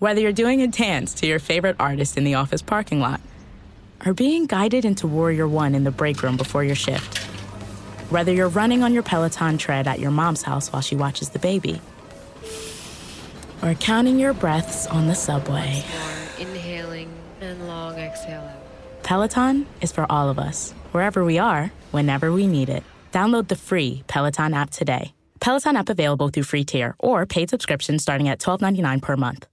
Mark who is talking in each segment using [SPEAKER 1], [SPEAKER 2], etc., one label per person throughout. [SPEAKER 1] Whether you're doing a dance to your favorite artist in the office parking lot or being guided into Warrior One in the break room before your shift, whether you're running on your Peloton tread at your mom's house while she watches the baby, or counting your breaths on the subway,
[SPEAKER 2] More inhaling and long exhale out.
[SPEAKER 1] Peloton is for all of us, wherever we are, whenever we need it. Download the free Peloton app today. Peloton app available through free tier or paid subscription starting at $12.99 per month.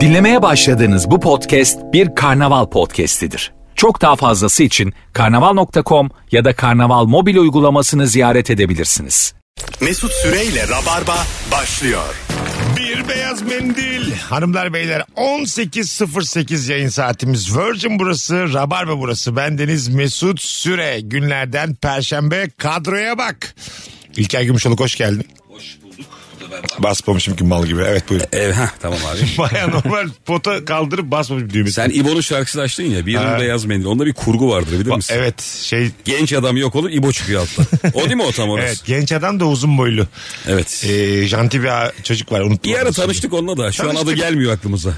[SPEAKER 3] Dinlemeye başladığınız bu podcast bir karnaval podcastidir. Çok daha fazlası için karnaval.com ya da karnaval mobil uygulamasını ziyaret edebilirsiniz.
[SPEAKER 4] Mesut Süreyle Rabarba başlıyor.
[SPEAKER 5] Bir beyaz mendil. Hanımlar beyler 18.08 yayın saatimiz. Virgin burası, Rabarba burası. Bendeniz Mesut Süre. Günlerden Perşembe kadroya bak. İlker Gümüşoluk hoş geldin. Basmamışım ki mal gibi. Evet buyurun.
[SPEAKER 6] Evet heh, tamam abi.
[SPEAKER 5] Baya normal pota kaldırıp basmamışım düğmesi.
[SPEAKER 6] Sen İbo'nun şarkısını açtın ya bir yılın beyaz mendil. Onda bir kurgu vardır bilir misin?
[SPEAKER 5] Evet şey...
[SPEAKER 6] Genç adam yok olur İbo çıkıyor altta. O değil mi o tam orası?
[SPEAKER 5] Evet genç adam da uzun boylu.
[SPEAKER 6] Evet.
[SPEAKER 5] Ee, janti bir a- çocuk var unuttum.
[SPEAKER 6] bir ara
[SPEAKER 5] adını şimdi.
[SPEAKER 6] tanıştık onunla da şu an adı
[SPEAKER 5] Tanıştık.
[SPEAKER 6] gelmiyor aklımıza.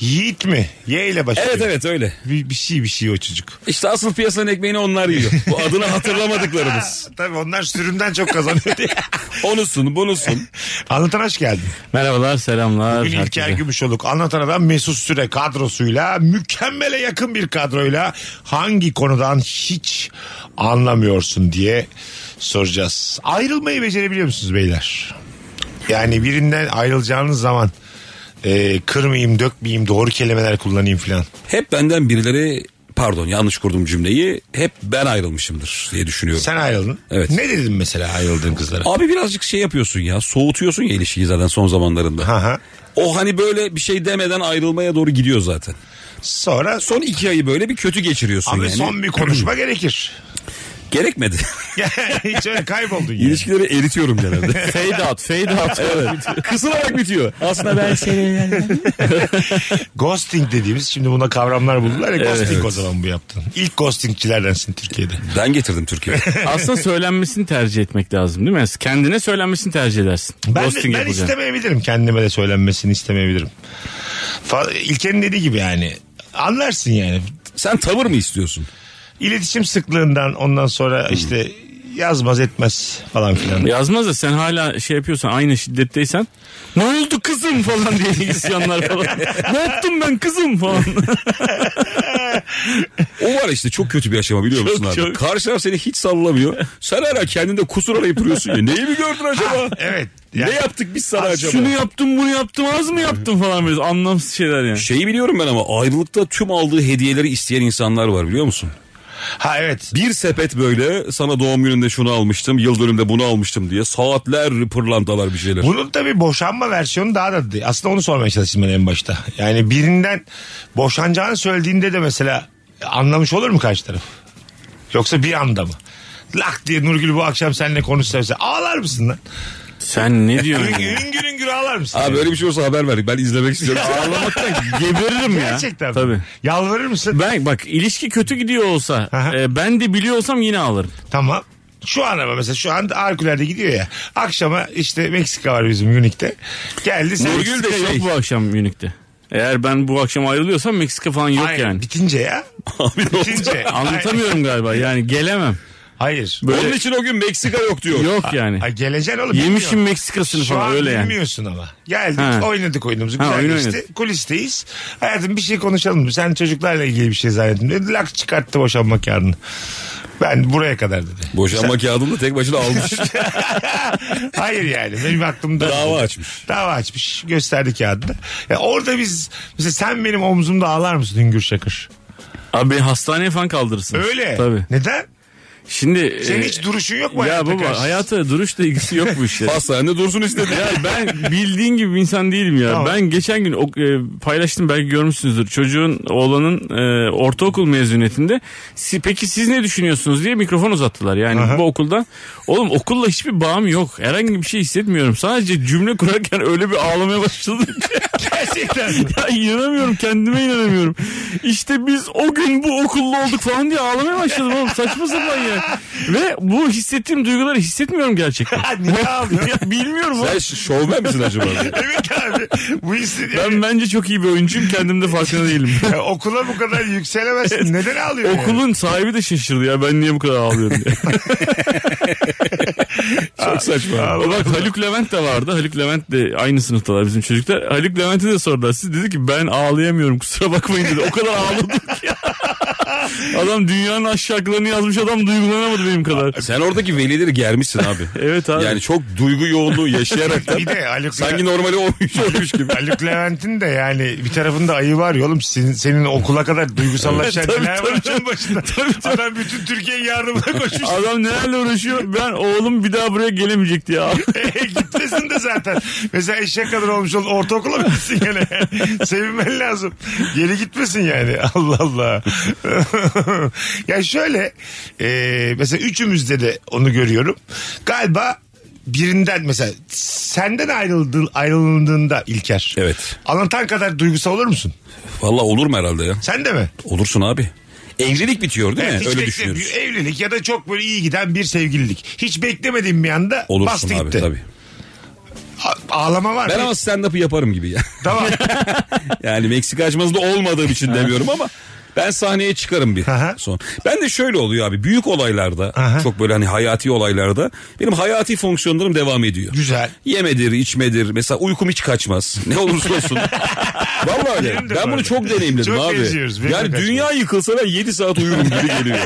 [SPEAKER 5] Yiğit mi? Y ile başlıyor.
[SPEAKER 6] Evet evet öyle.
[SPEAKER 5] Bir, bir şey bir şey o çocuk.
[SPEAKER 6] İşte asıl piyasanın ekmeğini onlar yiyor. Bu adını hatırlamadıklarımız.
[SPEAKER 5] Tabii onlar sürümden çok kazanıyor diye.
[SPEAKER 6] Onusun bunusun.
[SPEAKER 5] Anlatan hoş geldin.
[SPEAKER 7] Merhabalar, selamlar.
[SPEAKER 5] Bugün İlker
[SPEAKER 7] herkese.
[SPEAKER 5] Gümüşoluk anlatan adam Mesut Süre kadrosuyla mükemmele yakın bir kadroyla hangi konudan hiç anlamıyorsun diye soracağız. Ayrılmayı becerebiliyor musunuz beyler? Yani birinden ayrılacağınız zaman e, kırmayayım dökmeyeyim doğru kelimeler kullanayım filan.
[SPEAKER 6] Hep benden birileri pardon yanlış kurdum cümleyi. Hep ben ayrılmışımdır diye düşünüyorum.
[SPEAKER 5] Sen ayrıldın.
[SPEAKER 6] Evet.
[SPEAKER 5] Ne dedin mesela ayrıldığın kızlara?
[SPEAKER 6] Abi birazcık şey yapıyorsun ya soğutuyorsun ya ilişkiyi zaten son zamanlarında.
[SPEAKER 5] Ha ha.
[SPEAKER 6] O hani böyle bir şey demeden ayrılmaya doğru gidiyor zaten.
[SPEAKER 5] Sonra
[SPEAKER 6] Son iki ayı böyle bir kötü geçiriyorsun
[SPEAKER 5] Abi
[SPEAKER 6] yani.
[SPEAKER 5] son bir konuşma gerekir.
[SPEAKER 6] Gerekmedi.
[SPEAKER 5] Hiç öyle kayboldun yani.
[SPEAKER 6] İlişkileri eritiyorum genelde. fade out, fade out. evet. Kısılarak bitiyor. Aslında ben seni...
[SPEAKER 5] Ghosting dediğimiz şimdi buna kavramlar buldular ya ghosting
[SPEAKER 6] evet.
[SPEAKER 5] o zaman bu yaptın. İlk ghostingçilerdensin Türkiye'de.
[SPEAKER 6] Ben getirdim Türkiye'ye.
[SPEAKER 7] Aslında söylenmesini tercih etmek lazım değil mi? Kendine söylenmesini tercih edersin.
[SPEAKER 5] Ben, de-
[SPEAKER 7] Ghosting
[SPEAKER 5] ben
[SPEAKER 7] yapacaksın.
[SPEAKER 5] istemeyebilirim kendime de söylenmesini istemeyebilirim. Fa- İlker'in dediği gibi yani anlarsın yani.
[SPEAKER 6] Sen tavır mı istiyorsun?
[SPEAKER 5] İletişim sıklığından ondan sonra
[SPEAKER 6] Hmm.
[SPEAKER 5] işte yazmaz etmez falan filan.
[SPEAKER 7] Yazmaz da sen hala şey yapıyorsan aynı şiddetteysen ne oldu kızım falan diye isyanlar falan. ne yaptım ben kızım falan.
[SPEAKER 6] O var işte çok kötü bir aşama biliyor musun abi?
[SPEAKER 7] çok.
[SPEAKER 6] Karşı taraf seni hiç sallamıyor. Sen hala kendinde kusur arayıp duruyorsun ya. Neyi mi gördün acaba?
[SPEAKER 5] Evet.
[SPEAKER 6] Ne
[SPEAKER 5] Yani
[SPEAKER 6] yaptık biz sana acaba?
[SPEAKER 7] Şunu yaptım bunu yaptım az mı yaptım falan böyle anlamsız şeyler yani.
[SPEAKER 6] Şeyi biliyorum ben ama ayrılıkta tüm aldığı hediyeleri isteyen insanlar var biliyor musun?
[SPEAKER 5] ha evet.
[SPEAKER 6] Bir sepet böyle sana doğum gününde şunu almıştım, yıl dönümde bunu almıştım diye saatler pırlantalar bir şeyler.
[SPEAKER 5] Bunun tabii boşanma versiyonu daha da aslında onu sormaya çalıştım ben en başta. Yani birinden boşanacağını söylediğinde de mesela anlamış olur mu karşı taraf? Yoksa bir anda mı? Lak diye Nurgül bu akşam seninle konuşsa mesela ağlar mısın lan?
[SPEAKER 7] Sen ne diyorsun? ya?
[SPEAKER 5] Hüngür hüngür ağlar mısın?
[SPEAKER 6] Abi böyle bir şey olsa haber ver. Ben izlemek istiyorum.
[SPEAKER 7] Ağlamaktan geberirim ya.
[SPEAKER 5] Gerçekten mi?
[SPEAKER 7] Tabii.
[SPEAKER 5] Yalvarır mısın?
[SPEAKER 7] Ben bak ilişki kötü gidiyor olsa
[SPEAKER 5] Aha.
[SPEAKER 7] e, ben de biliyor olsam yine alırım.
[SPEAKER 5] Tamam. Şu an ama mesela şu an Arkuler'de gidiyor ya. Akşama işte Meksika var bizim Unique'de. Geldi sen
[SPEAKER 6] Nurgül de
[SPEAKER 7] Meksika
[SPEAKER 6] şey.
[SPEAKER 7] yok bu akşam Münih'te. Eğer ben bu akşam ayrılıyorsam Meksika falan yok
[SPEAKER 5] Hayır,
[SPEAKER 7] yani.
[SPEAKER 5] bitince ya. bitince.
[SPEAKER 7] Anlatamıyorum galiba yani gelemem.
[SPEAKER 5] Hayır.
[SPEAKER 7] Böyle
[SPEAKER 6] Onun için o gün Meksika yok diyor.
[SPEAKER 7] yok yani.
[SPEAKER 5] Ay geleceksin oğlum.
[SPEAKER 7] Yemişim
[SPEAKER 5] bilmiyorum.
[SPEAKER 7] Meksikasını
[SPEAKER 5] Şu an
[SPEAKER 7] falan öyle yani.
[SPEAKER 5] bilmiyorsun ama. Geldik
[SPEAKER 7] Ha.
[SPEAKER 5] oynadık oyunumuzu.
[SPEAKER 7] Ha,
[SPEAKER 5] Güzel
[SPEAKER 7] oyun
[SPEAKER 5] geçti.
[SPEAKER 7] oynadık.
[SPEAKER 5] Kulisteyiz. Hayatım bir şey konuşalım. mı? Sen çocuklarla ilgili bir şey zannettin. Dedi lak çıkarttı boşanma kağıdını. Ben buraya kadar dedi.
[SPEAKER 6] Boşanma kağıdını da tek başına almış.
[SPEAKER 5] Hayır yani benim aklımda.
[SPEAKER 6] Dava açmış.
[SPEAKER 5] Dava açmış. Gösterdi kağıdını. Ya orada biz mesela sen benim omzumda ağlar mısın Hüngür Şakır?
[SPEAKER 7] Abi hastaneye falan kaldırırsın.
[SPEAKER 5] Öyle.
[SPEAKER 7] Tabii.
[SPEAKER 5] Neden?
[SPEAKER 7] Şimdi
[SPEAKER 5] Senin
[SPEAKER 7] e,
[SPEAKER 5] hiç duruşun yok mu?
[SPEAKER 7] ya
[SPEAKER 5] hayata
[SPEAKER 7] baba
[SPEAKER 5] karşı?
[SPEAKER 7] hayata duruşla ilgisi yok bu işlerin.
[SPEAKER 6] Hastanede dursun istedi.
[SPEAKER 7] ya ben bildiğin gibi bir insan değilim ya.
[SPEAKER 5] Tamam.
[SPEAKER 7] Ben geçen gün o- e, paylaştım belki görmüşsünüzdür. Çocuğun oğlanın e, ortaokul mezuniyetinde "Si- peki siz ne düşünüyorsunuz diye mikrofon uzattılar. Yani bu okuldan oğlum okulla hiçbir bağım yok. Herhangi bir şey hissetmiyorum. Sadece cümle kurarken öyle bir ağlamaya başladım.
[SPEAKER 5] Gerçekten mi?
[SPEAKER 7] ya inanamıyorum kendime inanamıyorum. İşte biz o gün bu okulda olduk falan diye ağlamaya başladım oğlum. Saçma sapan ya. yani. Ve bu hissettiğim duyguları hissetmiyorum gerçekten.
[SPEAKER 5] Niye ağlıyorsun?
[SPEAKER 7] Bilmiyorum.
[SPEAKER 6] Sen ş- şovmen misin acaba?
[SPEAKER 5] evet abi. Bu hissediyor.
[SPEAKER 7] Ben bence çok iyi bir oyuncuyum kendimde farkında değilim.
[SPEAKER 5] Ya okula bu kadar yükselemezsin. Neden ağlıyorsun? yani?
[SPEAKER 7] Okulun sahibi de şaşırdı ya ben niye bu kadar ağlıyorum diye.
[SPEAKER 6] Çok saçma.
[SPEAKER 7] Ama Bak Haluk Levent de vardı. Haluk Levent de aynı sınıftalar bizim çocuklar. Haluk Levent'e de sordular. Siz dedi ki ben ağlayamıyorum kusura bakmayın dedi. O kadar ağladım ki. adam dünyanın aşağılarını yazmış adam duygulanamadı benim kadar.
[SPEAKER 6] Sen oradaki velileri germişsin abi.
[SPEAKER 7] Evet abi.
[SPEAKER 6] Yani çok duygu yoğunluğu yaşayarak
[SPEAKER 5] Bir de Haluk-
[SPEAKER 6] sanki normali olmuş olmuş gibi.
[SPEAKER 5] Haluk Levent'in de yani bir tarafında ayı var ya oğlum senin, senin okula kadar duygusallaşan
[SPEAKER 7] Evet, tabii,
[SPEAKER 5] neler var
[SPEAKER 7] tabii.
[SPEAKER 5] hocam başında.
[SPEAKER 7] Tabii, tabii.
[SPEAKER 5] Adam bütün Türkiye'nin yardımına koşmuş.
[SPEAKER 7] Adam nelerle uğraşıyor ben oğlum bir daha buraya gelemeyecek diye ağlıyor.
[SPEAKER 5] E, Gitmesin de zaten. Mesela eşek kadar olmuş oldu. Ortaokula mı gitsin gene? Sevinmen lazım. Geri gitmesin yani. Allah Allah. ya şöyle e, mesela üçümüzde de onu görüyorum. Galiba birinden mesela senden ayrıldı, ayrıldığında İlker.
[SPEAKER 6] Evet.
[SPEAKER 5] Anlatan kadar duygusal olur musun?
[SPEAKER 6] Valla olur mu herhalde ya?
[SPEAKER 5] Sen de mi?
[SPEAKER 6] Olursun abi. Evlilik bitiyor değil
[SPEAKER 5] Evet,
[SPEAKER 6] mi?
[SPEAKER 5] hiç
[SPEAKER 6] Öyle
[SPEAKER 5] bekle-
[SPEAKER 6] düşünüyoruz.
[SPEAKER 5] bir Evlilik ya da çok böyle iyi giden bir sevgililik. Hiç beklemediğim bir anda
[SPEAKER 6] Olursun
[SPEAKER 5] bastı
[SPEAKER 6] abi
[SPEAKER 5] gitti.
[SPEAKER 6] tabii.
[SPEAKER 5] A- Ağlama var
[SPEAKER 6] Ben
[SPEAKER 5] mı?
[SPEAKER 6] ama stand-up'ı yaparım gibi ya.
[SPEAKER 5] Tamam.
[SPEAKER 6] Yani Meksika açmazda olmadığım için demiyorum ama ben sahneye çıkarım bir
[SPEAKER 5] Aha.
[SPEAKER 6] son. Ben de şöyle oluyor abi büyük olaylarda
[SPEAKER 5] Aha.
[SPEAKER 6] çok böyle hani hayati olaylarda benim hayati fonksiyonlarım devam ediyor.
[SPEAKER 5] Güzel.
[SPEAKER 6] Yemedir içmedir mesela uykum hiç kaçmaz ne olursa olsun. Vallahi öyle.
[SPEAKER 5] Benim de
[SPEAKER 6] ben
[SPEAKER 5] bu arada.
[SPEAKER 6] bunu çok deneyimledim
[SPEAKER 5] Çok
[SPEAKER 6] abi.
[SPEAKER 5] benziyoruz, benim de
[SPEAKER 6] yani
[SPEAKER 5] kaçmaz.
[SPEAKER 6] dünya yıkılsa ben 7 saat uyurum gibi geliyor.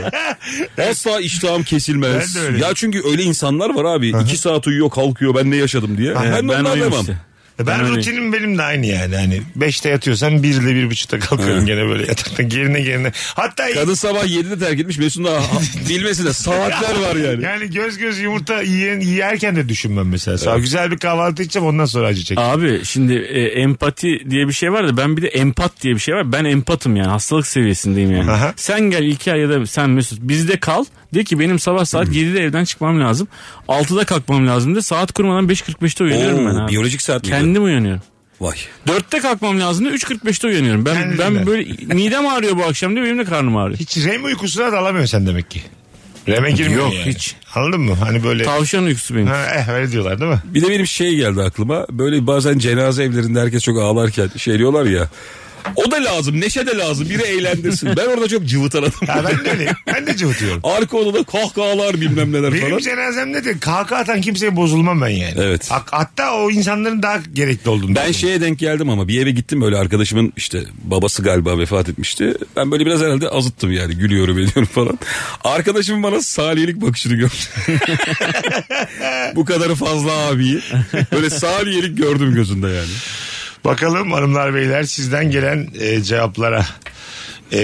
[SPEAKER 6] Asla iştahım kesilmez.
[SPEAKER 5] Ben de öyle.
[SPEAKER 6] Ya çünkü öyle insanlar var abi 2 saat uyuyor kalkıyor ben ne yaşadım diye. Ben, ben
[SPEAKER 7] uyuyorum
[SPEAKER 6] anlamam.
[SPEAKER 7] işte.
[SPEAKER 5] E Ben,
[SPEAKER 7] Ben öyleyim.
[SPEAKER 5] rutinim benim de aynı yani. Hani 5'te yatıyorsam 1 ile 1.30'da kalkıyorum gene böyle yataktan gerine gerine. Hatta
[SPEAKER 6] Kadın sabah 7'de terk etmiş Mesut'un daha ha- bilmesine saatler var yani.
[SPEAKER 5] yani göz göz yumurta yiyen, yerken de düşünmem mesela. Sağ güzel bir kahvaltı içeceğim ondan sonra acı çekeceğim.
[SPEAKER 7] Abi şimdi e, empati diye bir şey var da ben bir de empat diye bir şey var. Ben empatım yani hastalık seviyesindeyim yani.
[SPEAKER 5] Aha.
[SPEAKER 7] Sen gel İlker ya da sen Mesut bizde kal. De ki benim sabah
[SPEAKER 5] Hmm.
[SPEAKER 7] saat 7'de evden çıkmam lazım. 6'da kalkmam lazım de saat kurmadan 5.45'te uyanıyorum
[SPEAKER 6] Oo,
[SPEAKER 7] ben abi.
[SPEAKER 6] biyolojik saat miydi?
[SPEAKER 7] Kendim uyanıyorum.
[SPEAKER 6] Vay.
[SPEAKER 7] 4'te kalkmam lazım da 3.45'te uyanıyorum. Ben
[SPEAKER 5] Kendin de.
[SPEAKER 7] ben böyle midem ağrıyor bu akşam diye benim de karnım ağrıyor.
[SPEAKER 5] Hiç REM uykusuna dalamıyorsun sen demek ki. REM'e girmiyor
[SPEAKER 7] Yok,
[SPEAKER 5] yani.
[SPEAKER 7] hiç.
[SPEAKER 5] Anladın mı? Hani böyle...
[SPEAKER 7] Tavşan uykusu benim.
[SPEAKER 5] Ha, eh öyle diyorlar değil mi?
[SPEAKER 6] Bir de benim şey geldi aklıma. Böyle bazen cenaze evlerinde herkes çok ağlarken şey diyorlar ya. O da lazım, neşe de lazım. Biri eğlendirsin. ben orada çok cıvıtan
[SPEAKER 5] Ya
[SPEAKER 6] adamım.
[SPEAKER 5] ben de öyleyim. Ben de cıvıtıyorum.
[SPEAKER 6] Arka odada kahkahalar bilmem neler
[SPEAKER 5] Benim
[SPEAKER 6] falan.
[SPEAKER 5] cenazemde de kahkaha atan kimseye bozulmam ben yani.
[SPEAKER 6] Evet.
[SPEAKER 5] Hak- Hatta o insanların daha gerekli olduğunu
[SPEAKER 6] Ben
[SPEAKER 5] düşünüyorum.
[SPEAKER 6] şeye denk geldim ama bir eve gittim böyle arkadaşımın işte babası galiba vefat etmişti. Ben böyle biraz herhalde azıttım yani gülüyorum ediyorum falan. Arkadaşım bana saliyelik bakışını gördü. Bu kadarı fazla abi. Böyle saliyelik gördüm gözünde yani.
[SPEAKER 5] Bakalım hanımlar beyler sizden gelen e, cevaplara. E,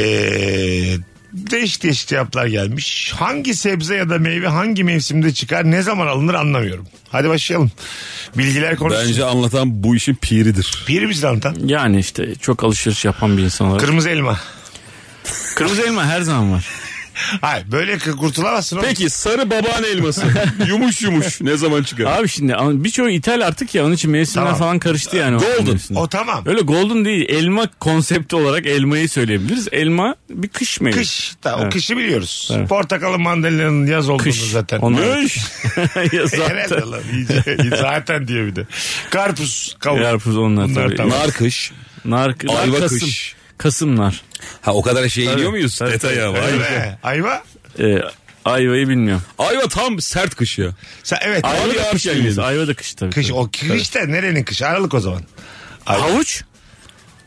[SPEAKER 5] değişik değişik cevaplar gelmiş. Hangi sebze ya da meyve hangi mevsimde çıkar ne zaman alınır anlamıyorum. Hadi başlayalım. Bilgiler konuşsun.
[SPEAKER 6] Bence anlatan bu işin piridir.
[SPEAKER 5] Piri bizi anlatan.
[SPEAKER 7] Yani işte çok alışveriş yapan bir insan olarak.
[SPEAKER 5] Kırmızı elma.
[SPEAKER 7] Kırmızı elma her zaman var.
[SPEAKER 5] Hayır böyle kı- kurtulamazsın. oğlum.
[SPEAKER 6] Peki sarı babaan elması yumuş yumuş ne zaman çıkar?
[SPEAKER 7] Abi şimdi ama birçoğu ithal artık ya onun için mevsimler
[SPEAKER 5] Tamam.
[SPEAKER 7] falan karıştı yani. o
[SPEAKER 6] Golden.
[SPEAKER 7] mevsimler.
[SPEAKER 5] O tamam.
[SPEAKER 7] Öyle golden değil. Elma konsepti olarak elmayı söyleyebiliriz. Elma bir kış meyvesi.
[SPEAKER 5] Kış. da o
[SPEAKER 7] Evet.
[SPEAKER 5] kışı biliyoruz.
[SPEAKER 7] Evet.
[SPEAKER 5] Portakalın mandalina'nın yaz olduğunu
[SPEAKER 7] Kış.
[SPEAKER 5] zaten.
[SPEAKER 7] Onlar-
[SPEAKER 5] Kış.
[SPEAKER 7] ya
[SPEAKER 5] Herhalde
[SPEAKER 7] zaten.
[SPEAKER 5] lan. iyice- zaten diyor bir de. Karpuz. Kavun.
[SPEAKER 7] Karpuz onlar
[SPEAKER 5] Bunlar
[SPEAKER 7] tabii.
[SPEAKER 5] tamam.
[SPEAKER 6] Nar kış.
[SPEAKER 7] Nar, nar
[SPEAKER 6] Ayva
[SPEAKER 7] Kasım.
[SPEAKER 6] kış.
[SPEAKER 7] Kasımlar.
[SPEAKER 6] Ha o kadar şey iniyor muyuz?
[SPEAKER 7] Tabii,
[SPEAKER 6] Detaya vay.
[SPEAKER 5] Ayva. Ayva.
[SPEAKER 7] Ee, ayvayı bilmiyorum.
[SPEAKER 6] Ayva tam sert kış ya.
[SPEAKER 5] Sen, evet.
[SPEAKER 7] Ayva da
[SPEAKER 6] yağar
[SPEAKER 7] kış.
[SPEAKER 6] şey
[SPEAKER 7] diyoruz.
[SPEAKER 6] yedim.
[SPEAKER 7] Ayva da kış tabii.
[SPEAKER 5] Kış
[SPEAKER 7] tabii.
[SPEAKER 5] o kış da nerenin kışı? Aralık o zaman.
[SPEAKER 7] Havuç.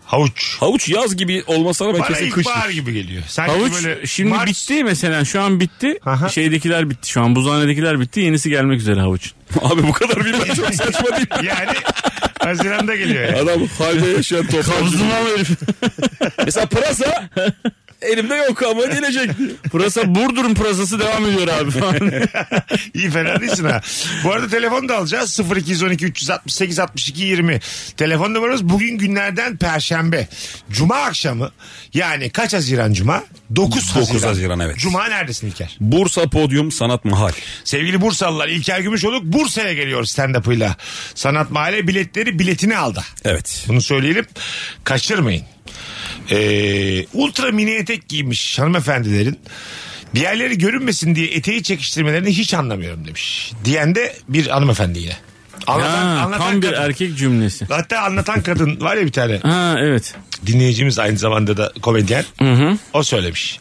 [SPEAKER 5] Havuç.
[SPEAKER 6] Havuç yaz gibi olmasına ben
[SPEAKER 5] Bana
[SPEAKER 6] kesin kış.
[SPEAKER 5] ilkbahar gibi geliyor. Sanki
[SPEAKER 7] Havuç
[SPEAKER 5] Hani böyle
[SPEAKER 7] şimdi
[SPEAKER 5] Mart-
[SPEAKER 7] bitti mesela şu an bitti.
[SPEAKER 5] Aha.
[SPEAKER 7] Şeydekiler bitti şu an buzhanedekiler bitti. Yenisi gelmek üzere havuç.
[SPEAKER 6] Abi bu kadar bilmem çok saçma değil. mi?
[SPEAKER 5] Yani Haziran'da geliyor yani.
[SPEAKER 6] Adam halde yaşayan toplamcı.
[SPEAKER 7] herif.
[SPEAKER 6] Mesela pırasa elimde yok ama gelecek.
[SPEAKER 7] Pırasa Burdur'un pırasası devam ediyor abi falan.
[SPEAKER 5] İyi fena değilsin ha. Bu arada telefon da alacağız. 0212 368 62 20. Telefon numaramız bugün günlerden perşembe. Cuma akşamı yani kaç Haziran Cuma? 9 Haziran.
[SPEAKER 6] Haziran, evet.
[SPEAKER 5] Cuma neredesin İlker?
[SPEAKER 6] Bursa Podyum Sanat Mahal.
[SPEAKER 5] Sevgili Bursalılar İlker Gümüşoluk Bursa'ya geliyor stand-up'ıyla. Sanat mahalle biletleri biletini aldı.
[SPEAKER 6] Evet.
[SPEAKER 5] Bunu söyleyelim. Kaçırmayın. Ee, ultra mini etek giymiş hanımefendilerin Bir yerleri görünmesin diye eteği çekiştirmelerini hiç anlamıyorum demiş. Diyen de bir hanımefendi yine. Anlatan,
[SPEAKER 7] Ha,
[SPEAKER 5] anlatan
[SPEAKER 7] tam bir
[SPEAKER 5] kadın.
[SPEAKER 7] erkek cümlesi.
[SPEAKER 5] Hatta anlatan kadın var ya bir tane
[SPEAKER 7] Ha evet.
[SPEAKER 5] dinleyicimiz aynı zamanda da komedyen. O söylemiş.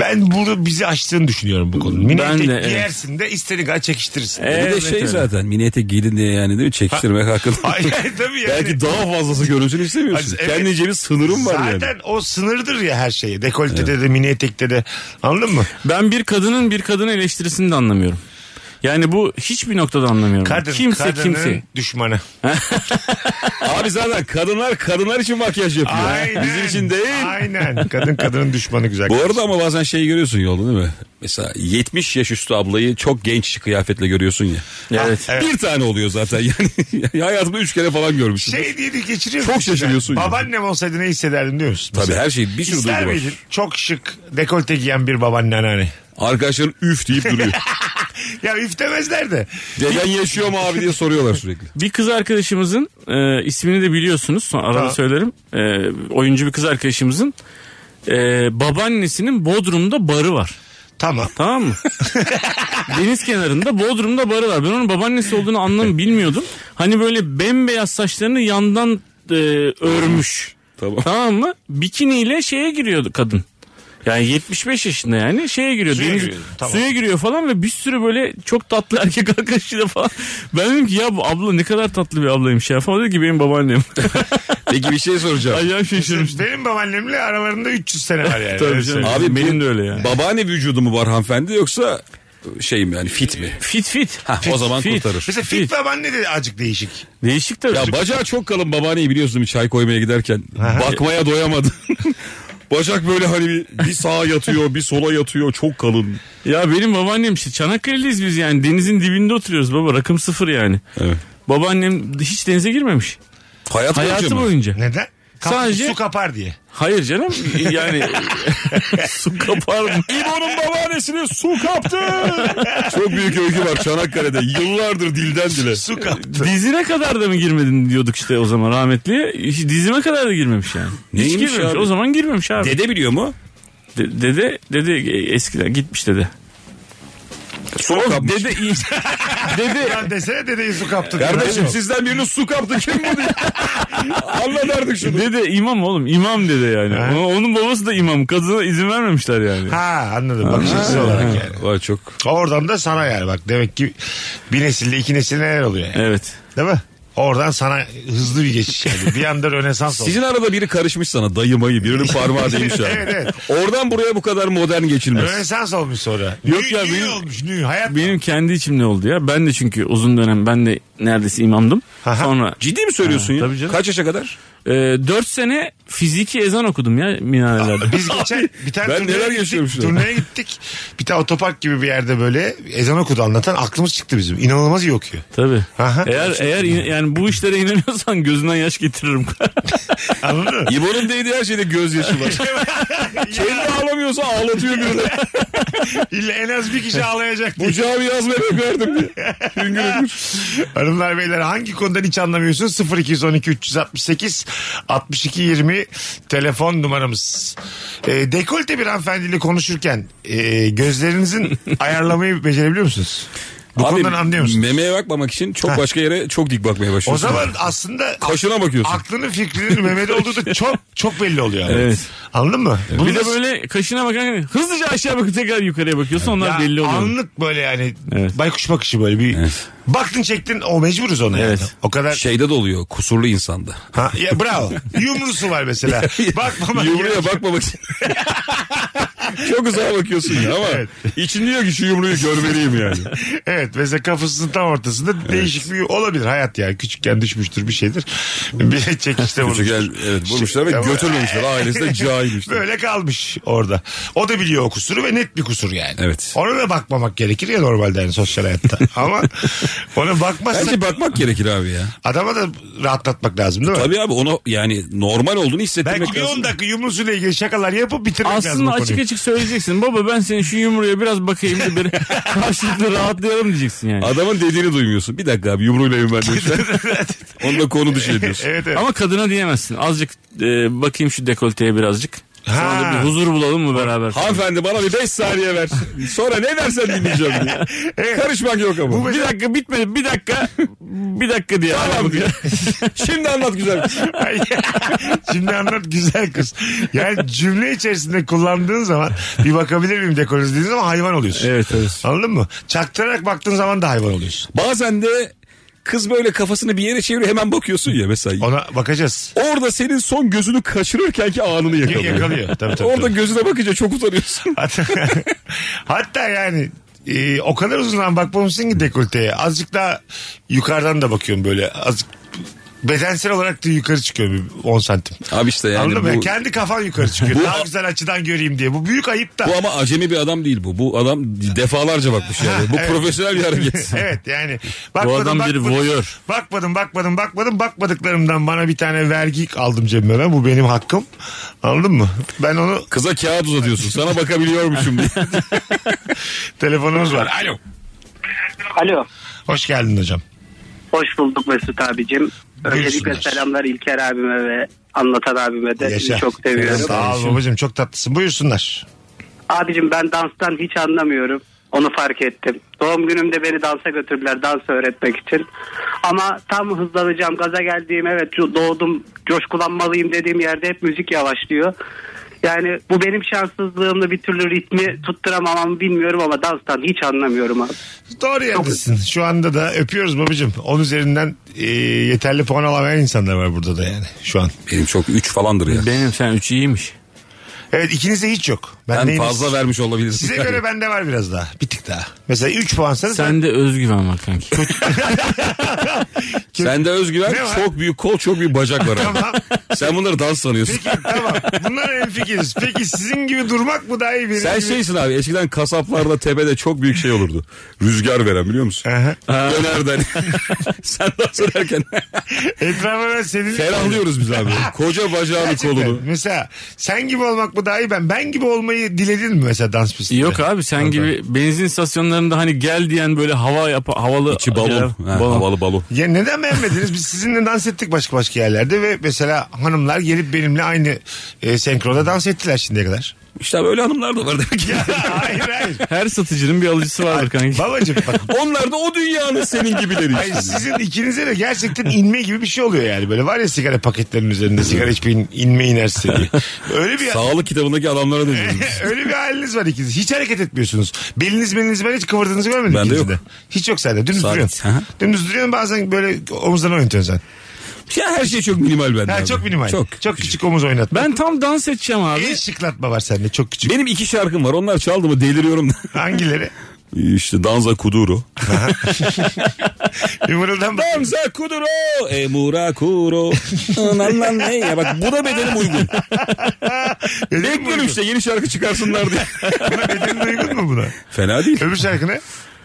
[SPEAKER 5] Ben bunu bizi açtığını düşünüyorum bu konunun. Mini
[SPEAKER 7] Ben
[SPEAKER 5] etek
[SPEAKER 7] de, evet.
[SPEAKER 5] giyersin de istediğin kadar çekiştirirsin.
[SPEAKER 6] Bir
[SPEAKER 7] Evet,
[SPEAKER 6] de şey
[SPEAKER 7] öyle.
[SPEAKER 6] zaten mini etek giydin diye yani değil mi? Çekiştirmek hakkında.
[SPEAKER 5] Ay, tabii yani.
[SPEAKER 6] Belki daha fazlası görünsün istemiyorsun.
[SPEAKER 5] Evet.
[SPEAKER 6] Kendince bir sınırın var yani.
[SPEAKER 5] Zaten o sınırdır ya her şeye. Dekoltede de mini etekte de. Anladın mı?
[SPEAKER 7] Ben bir kadının bir kadını eleştirisini de anlamıyorum. Yani bu hiçbir noktada anlamıyorum.
[SPEAKER 5] Kadın,
[SPEAKER 7] kimse
[SPEAKER 5] kadının
[SPEAKER 7] kimse.
[SPEAKER 5] düşmanı.
[SPEAKER 6] Abi zaten kadınlar kadınlar için makyaj yapıyor. Bizim için değil.
[SPEAKER 5] Aynen. Kadın kadının düşmanı güzel.
[SPEAKER 6] Bu arada ama bazen şey görüyorsun yolda değil mi? Mesela 70 yaş üstü ablayı çok genç kıyafetle görüyorsun ya.
[SPEAKER 7] Evet.
[SPEAKER 5] Ah, Evet.
[SPEAKER 6] Bir tane oluyor zaten yani. hayatımda üç kere falan görmüşüm.
[SPEAKER 5] şey diye de geçiriyor
[SPEAKER 6] Çok
[SPEAKER 5] musun sen?
[SPEAKER 6] şaşırıyorsun ya.
[SPEAKER 5] Babaannem olsaydı ne hissederdin diyor musun?
[SPEAKER 6] Tabii
[SPEAKER 5] Mesela?
[SPEAKER 6] her şey bir sürü
[SPEAKER 5] İster
[SPEAKER 6] duygu var.
[SPEAKER 5] miydin? Çok şık dekolte giyen bir babaanne anneanne.
[SPEAKER 6] Arkadaşların üf deyip duruyor.
[SPEAKER 5] Ya üftemezler de.
[SPEAKER 6] Deden yaşıyor mu abi diye soruyorlar sürekli.
[SPEAKER 7] Bir kız arkadaşımızın e, ismini de biliyorsunuz. Sonra arada
[SPEAKER 5] Tamam.
[SPEAKER 7] söylerim. E, oyuncu bir kız arkadaşımızın e, babaannesinin Bodrum'da barı var.
[SPEAKER 5] Tamam.
[SPEAKER 7] Tamam mı? Deniz kenarında Bodrum'da barı var. Ben onun babaannesi olduğunu anlam bilmiyordum. Hani böyle bembeyaz saçlarını yandan e, örmüş.
[SPEAKER 6] Tamam.
[SPEAKER 7] Tamam mı? Bikiniyle şeye giriyordu kadın. Yani 75 yaşında yani şeye giriyor.
[SPEAKER 5] Suya
[SPEAKER 7] deniz,
[SPEAKER 5] giriyor, tamam.
[SPEAKER 7] Suya giriyor falan ve bir sürü böyle çok tatlı erkek arkadaşıyla falan. Ben dedim ki ya bu abla ne kadar tatlı bir ablaymış ya falan. Dedi ki benim babaannem.
[SPEAKER 6] Peki bir şey soracağım.
[SPEAKER 7] Acayip şaşırmış.
[SPEAKER 5] Benim babaannemle aralarında 300 sene var yani.
[SPEAKER 7] Tabii
[SPEAKER 5] Öyle
[SPEAKER 7] canım.
[SPEAKER 5] söyleyeyim.
[SPEAKER 6] Abi
[SPEAKER 7] Benim
[SPEAKER 6] bu
[SPEAKER 7] de öyle yani.
[SPEAKER 6] Babaanne vücudu mu var hanımefendi yoksa şey mi yani fit mi?
[SPEAKER 7] Fit fit.
[SPEAKER 6] Ha, o zaman
[SPEAKER 7] fit.
[SPEAKER 6] kurtarır.
[SPEAKER 5] Mesela fit babaanne de acık değişik.
[SPEAKER 7] Değişik tabii.
[SPEAKER 6] Ya bacağı çok kalın babaanneyi biliyorsun bir çay koymaya giderken. Bakmaya doyamadı. Bacak böyle hani bir, bir sağa yatıyor bir sola yatıyor çok kalın.
[SPEAKER 7] Ya benim babaannem işte Çanakkale'liyiz biz yani denizin dibinde oturuyoruz baba rakım sıfır yani.
[SPEAKER 6] Evet.
[SPEAKER 7] Babaannem hiç denize girmemiş
[SPEAKER 6] Hayat
[SPEAKER 7] hayatı boyunca.
[SPEAKER 5] Neden? Kap-
[SPEAKER 7] Sadece-
[SPEAKER 5] Su kapar diye.
[SPEAKER 7] Hayır canım yani su kapar mı?
[SPEAKER 6] İbo'nun babaannesine su kaptı. Çok büyük öykü var Çanakkale'de. Yıllardır dilden dile.
[SPEAKER 5] Su kaptı.
[SPEAKER 7] Dizine kadar da mı girmedin diyorduk işte o zaman rahmetliye. Hiç Dizime kadar da girmemiş yani.
[SPEAKER 6] Neymiş
[SPEAKER 7] hiç girmemiş.
[SPEAKER 6] abi?
[SPEAKER 7] O zaman girmemiş abi.
[SPEAKER 6] Dede biliyor mu?
[SPEAKER 7] De- dede dede eskiden gitmiş dede.
[SPEAKER 6] Su kapmış.
[SPEAKER 7] Dede dede
[SPEAKER 5] Lan desene dedeyi su kaptı.
[SPEAKER 6] Kardeşim sizden birinin su kaptı kim bu diye. Anlat artık şunu.
[SPEAKER 7] dede imam oğlum imam dede yani.
[SPEAKER 5] Ha.
[SPEAKER 7] Onun- Onun babası da imam. Kadına izin vermemişler yani.
[SPEAKER 5] Ha anladım bakış açısı olarak yani.
[SPEAKER 6] Vay çok.
[SPEAKER 5] Oradan da sana yani bak demek ki bir nesilde iki nesil neler oluyor yani.
[SPEAKER 7] Evet.
[SPEAKER 5] Değil mi? Oradan sana hızlı bir geçiş yani. Bir anda Rönesans oldu.
[SPEAKER 6] Sizin arada biri karışmış sana dayımayı birinin parmağı değmiş abi.
[SPEAKER 5] Evet, evet.
[SPEAKER 6] Oradan buraya bu kadar modern geçilmez.
[SPEAKER 5] Rönesans olmuş sonra.
[SPEAKER 7] Yok
[SPEAKER 5] Nü-
[SPEAKER 7] ya,
[SPEAKER 5] nü
[SPEAKER 7] benim-
[SPEAKER 5] olmuş nü hayat.
[SPEAKER 7] Benim kendi içimde oldu ya. Ben de çünkü uzun dönem ben de neredeyse imamdım.
[SPEAKER 5] Aha.
[SPEAKER 7] Sonra
[SPEAKER 6] Ciddi mi söylüyorsun
[SPEAKER 7] Ha,
[SPEAKER 6] ya?
[SPEAKER 7] tabii canım.
[SPEAKER 6] Kaç yaşa kadar?
[SPEAKER 7] e, 4 sene fiziki ezan okudum ya minarelerde.
[SPEAKER 5] Biz geçen bir tane
[SPEAKER 6] ben
[SPEAKER 5] turneye
[SPEAKER 6] neler
[SPEAKER 5] gittik,
[SPEAKER 6] yaşıyorum şu an.
[SPEAKER 5] Turneye gittik. Bir tane otopark gibi bir yerde böyle ezan okudu anlatan aklımız çıktı bizim. İnanılmaz iyi okuyor.
[SPEAKER 7] Tabii.
[SPEAKER 5] Aha.
[SPEAKER 7] Eğer eğer in- yani bu işlere inanıyorsan gözünden yaş getiririm.
[SPEAKER 5] Anladın mı?
[SPEAKER 6] İbo'nun değdiği her şeyde gözyaşı var. Kendi ağlamıyorsa ağlatıyor birini.
[SPEAKER 5] İlla en az bir kişi ağlayacak diye.
[SPEAKER 6] Bu cami az bebek verdim diye. Hüngür hüngür.
[SPEAKER 5] Hanımlar beyler hangi konudan hiç anlamıyorsunuz? 0212 368 62 20 telefon numaramız. E, dekolte bir hanımefendiyle konuşurken e, gözlerinizin ayarlamayı becerebiliyor musunuz? Bu konudan anlıyor musunuz?
[SPEAKER 6] Memeye bakmamak için çok başka yere çok dik bakmaya başlıyorsun.
[SPEAKER 5] O zaman aslında
[SPEAKER 6] Kaşına bakıyorsun.
[SPEAKER 5] aklının fikrinin Mehmet'e olduğu da çok çok belli oluyor. Abi.
[SPEAKER 7] Evet.
[SPEAKER 5] Anladın mı? Bunu
[SPEAKER 7] bir de
[SPEAKER 5] nasıl-
[SPEAKER 7] böyle kaşına bakan hızlıca aşağı bakıp tekrar yukarıya bakıyorsun onlar
[SPEAKER 5] Ya
[SPEAKER 7] belli oluyor.
[SPEAKER 5] Anlık böyle yani
[SPEAKER 7] Evet.
[SPEAKER 5] baykuş bakışı böyle bir baktın çektin o mecburuz ona
[SPEAKER 7] Evet.
[SPEAKER 5] yani. O kadar
[SPEAKER 6] Şeyde de oluyor kusurlu insanda.
[SPEAKER 5] Ha, ya bravo. Yumrusu var mesela. Bakmamak gerek.
[SPEAKER 6] Yumruğa bakmamak için. çok uzağa bakıyorsun ya ama
[SPEAKER 5] Evet.
[SPEAKER 6] için diyor ki şu yumruğu görmeliyim yani.
[SPEAKER 5] Evet mesela kafasının tam ortasında değişik bir olabilir hayat yani. Küçükken düşmüştür bir şeydir. Bir çekişte vurmuştur.
[SPEAKER 6] Küçükken evet vurmuşlar ve
[SPEAKER 5] Şey-
[SPEAKER 6] götürmemişler. Ailesi de cahilmişler.
[SPEAKER 5] Böyle kalmış orada. O da biliyor o kusuru ve net bir kusur yani.
[SPEAKER 6] Evet.
[SPEAKER 5] Ona da bakmamak gerekir ya normalde yani sosyal hayatta. Ama ona bakmazsak
[SPEAKER 6] Bence bakmak gerekir abi ya.
[SPEAKER 5] adama da rahatlatmak lazım değil mi?
[SPEAKER 6] Tabii abi ona yani normal olduğunu hissettirmek
[SPEAKER 5] Belki bir
[SPEAKER 6] lazım.
[SPEAKER 5] 10 dakika yumrusuyla ilgili şakalar yapıp bitirmek lazım
[SPEAKER 7] Aslında
[SPEAKER 5] bu
[SPEAKER 7] açık
[SPEAKER 5] konuyu.
[SPEAKER 7] açık söyleyeceksin. Baba ben senin şu yumruya biraz bakayım da bir karşılıklı rahatlayalım diyeceksin yani.
[SPEAKER 6] Adamın dediğini duymuyorsun. Bir dakika abi yumruğuyla evim ben lütfen. Onu da konu dışı ediyorsun.
[SPEAKER 5] Evet evet.
[SPEAKER 7] Ama kadına diyemezsin. Azıcık e, bakayım şu dekolteye birazcık. Sonra
[SPEAKER 5] Ha.
[SPEAKER 7] bir huzur bulalım mı beraber?
[SPEAKER 6] Hanımefendi bana bir 5 saniye ver. Sonra ne dersen dinleyeceğim diye. Karışmak yok ama.
[SPEAKER 7] bir dakika bitmedi. Bir dakika. bir dakika diye.
[SPEAKER 6] Tamam diye. Şimdi anlat güzel.
[SPEAKER 5] Ay, Şimdi anlat güzel kız. Yani cümle içerisinde kullandığın zaman bir bakabilir miyim dekolojisi dediğin zaman hayvan oluyorsun.
[SPEAKER 7] Evet evet.
[SPEAKER 5] Anladın mı? Çaktırarak baktığın zaman da hayvan oluyorsun.
[SPEAKER 6] Bazen de kız böyle kafasını bir yere çeviriyor hemen bakıyorsun ya mesela.
[SPEAKER 5] Ona bakacağız.
[SPEAKER 6] Orada senin son gözünü kaçırırken ki anını yakalıyor.
[SPEAKER 5] Yakalıyor. Tabii, tabii,
[SPEAKER 6] Orada
[SPEAKER 5] tabii.
[SPEAKER 6] gözüne bakınca çok utanıyorsun.
[SPEAKER 5] Hatta, hatta yani e, o kadar uzun zaman bakmamışsın ki dekolteye. Azıcık daha yukarıdan da bakıyorum böyle. Azıcık bedensel olarak da yukarı çıkıyor bir 10 santim.
[SPEAKER 6] Abi işte
[SPEAKER 5] Anladın
[SPEAKER 6] yani
[SPEAKER 5] mı?
[SPEAKER 6] bu,
[SPEAKER 5] Kendi kafan yukarı çıkıyor.
[SPEAKER 6] Bu-
[SPEAKER 5] daha güzel açıdan göreyim diye. Bu büyük ayıp da.
[SPEAKER 6] bu ama acemi bir adam değil bu. Bu adam defalarca bakmış yani. Bu profesyonel bir hareket.
[SPEAKER 5] evet yani. Bakmadım,
[SPEAKER 7] adam bir
[SPEAKER 5] bakmadım,
[SPEAKER 7] voyeur.
[SPEAKER 5] Bakmadım bakmadım bakmadım bakmadıklarımdan bana bir tane vergi aldım cebime ben. Bu benim hakkım. Anladın mı? Ben onu
[SPEAKER 6] Kıza kağıt uzatıyorsun. Sana bakabiliyormuşum diye.
[SPEAKER 5] telefonumuz var. Alo.
[SPEAKER 8] Alo.
[SPEAKER 5] Hoş geldin hocam.
[SPEAKER 8] Hoş bulduk Mesut abicim. Öncelikle
[SPEAKER 5] Buyursunlar.
[SPEAKER 8] selamlar İlker abime ve anlatan abime de
[SPEAKER 5] Yaşa.
[SPEAKER 8] çok seviyorum.
[SPEAKER 5] Sağ ol babacığım çok tatlısın. Buyursunlar.
[SPEAKER 8] Abicim ben danstan hiç anlamıyorum. Onu fark ettim. Doğum günümde beni dansa götürdüler dans öğretmek için. Ama tam hızlanacağım gaza geldiğim evet co- doğdum coşkulanmalıyım dediğim yerde hep müzik yavaşlıyor. Yani bu benim şanssızlığımla bir türlü ritmi tutturamamam bilmiyorum ama danstan hiç anlamıyorum abi.
[SPEAKER 5] Doğru yerdesin. Şu anda da öpüyoruz babacığım. 10 üzerinden e, yeterli puan alamayan insanlar var burada da yani şu an.
[SPEAKER 6] Benim çok 3 falandır ya.
[SPEAKER 7] Benim sen üç iyiymiş.
[SPEAKER 5] Evet ikinizde hiç yok. Ben,
[SPEAKER 6] Ben
[SPEAKER 5] neyim?
[SPEAKER 6] fazla vermiş olabilirsin.
[SPEAKER 5] Size göre bende var biraz daha. Bir tık daha. Mesela 3 puansanız
[SPEAKER 7] Sende özgüven var kanki.
[SPEAKER 6] Sende özgüven
[SPEAKER 5] Ne var?
[SPEAKER 6] çok büyük kol çok büyük bacak var. ama.
[SPEAKER 5] Tamam.
[SPEAKER 6] Sen bunları dans sanıyorsun.
[SPEAKER 5] Peki tamam. Bunlar en fikiriz. Peki sizin gibi durmak mı daha iyi benim
[SPEAKER 6] Sen şey-
[SPEAKER 5] gibi-
[SPEAKER 6] şeysin abi eskiden kasaplarda tepede çok büyük şey olurdu. Rüzgar veren biliyor musun?
[SPEAKER 5] Aha.
[SPEAKER 6] Dönerden. Sen dans ederken
[SPEAKER 5] Etrafa ben senin...
[SPEAKER 6] ferahlıyoruz biz abi. Koca bacağını
[SPEAKER 5] Gerçekten.
[SPEAKER 6] kolunu.
[SPEAKER 5] Mesela sen gibi olmak mı daha iyi ben? Ben gibi olmayı diledin mi mesela dans pistinde?
[SPEAKER 7] Yok abi sen
[SPEAKER 5] Tamam,
[SPEAKER 7] gibi benzin stasyonlarında hani gel diyen böyle hava yap havalı
[SPEAKER 6] İçi balon.
[SPEAKER 7] Ya,
[SPEAKER 6] Ha,
[SPEAKER 7] balon.
[SPEAKER 6] Havalı balon.
[SPEAKER 5] Ya neden beğenmediniz? Biz sizinle dans ettik başka başka yerlerde ve mesela hanımlar gelip benimle aynı e, senkroda dans ettiler şimdiye kadar.
[SPEAKER 6] İşte abi öyle hanımlar da var demek ki.
[SPEAKER 5] Ya hayır hayır.
[SPEAKER 7] Her satıcının bir alıcısı vardır kanki.
[SPEAKER 5] Babacım bak.
[SPEAKER 6] Onlar da o dünyanın senin gibileri
[SPEAKER 5] Hayır,
[SPEAKER 6] işte.
[SPEAKER 5] sizin ikinize de gerçekten inme gibi bir şey oluyor yani. Böyle var ya sigara paketlerinin üzerinde sigara içmeyin inme inerse diye. Öyle bir
[SPEAKER 6] Sağlık kitabındaki adamlara dönüyoruz. biz.
[SPEAKER 5] Öyle bir haliniz var ikiniz. Hiç hareket etmiyorsunuz. Beliniz beliniz ben hiç kıvırdığınızı görmedim
[SPEAKER 6] Bende
[SPEAKER 5] ikinizde.
[SPEAKER 6] yok.
[SPEAKER 5] Hiç yok sende. Dümdüz
[SPEAKER 6] Sabit. Aha.
[SPEAKER 5] duruyorsun. Dümdüz duruyorsun bazen böyle omuzdan oynatıyorsun sen.
[SPEAKER 6] Ya her şey çok minimal bende.
[SPEAKER 5] Ha,
[SPEAKER 6] abi.
[SPEAKER 5] çok minimal. Çok,
[SPEAKER 6] Çok.
[SPEAKER 5] küçük. omuz oynatma.
[SPEAKER 7] Ben tam dans edeceğim abi.
[SPEAKER 5] Bir şıklatma var sende çok küçük.
[SPEAKER 6] Benim iki şarkım var. Onlar çaldı mı deliriyorum. da.
[SPEAKER 5] Hangileri?
[SPEAKER 6] işte Danza Kuduro.
[SPEAKER 5] Bir mırıldan bak.
[SPEAKER 6] Danza Kuduro. Emura Kuro. Lan lan ne ya. Bak bu da bedenim uygun.
[SPEAKER 5] Benim
[SPEAKER 6] Bekliyorum
[SPEAKER 5] duygun.
[SPEAKER 6] işte yeni şarkı çıkarsınlar diye.
[SPEAKER 5] Buna bedenin duygun mu buna?
[SPEAKER 6] Fena değil.
[SPEAKER 5] Öbür şarkı ne?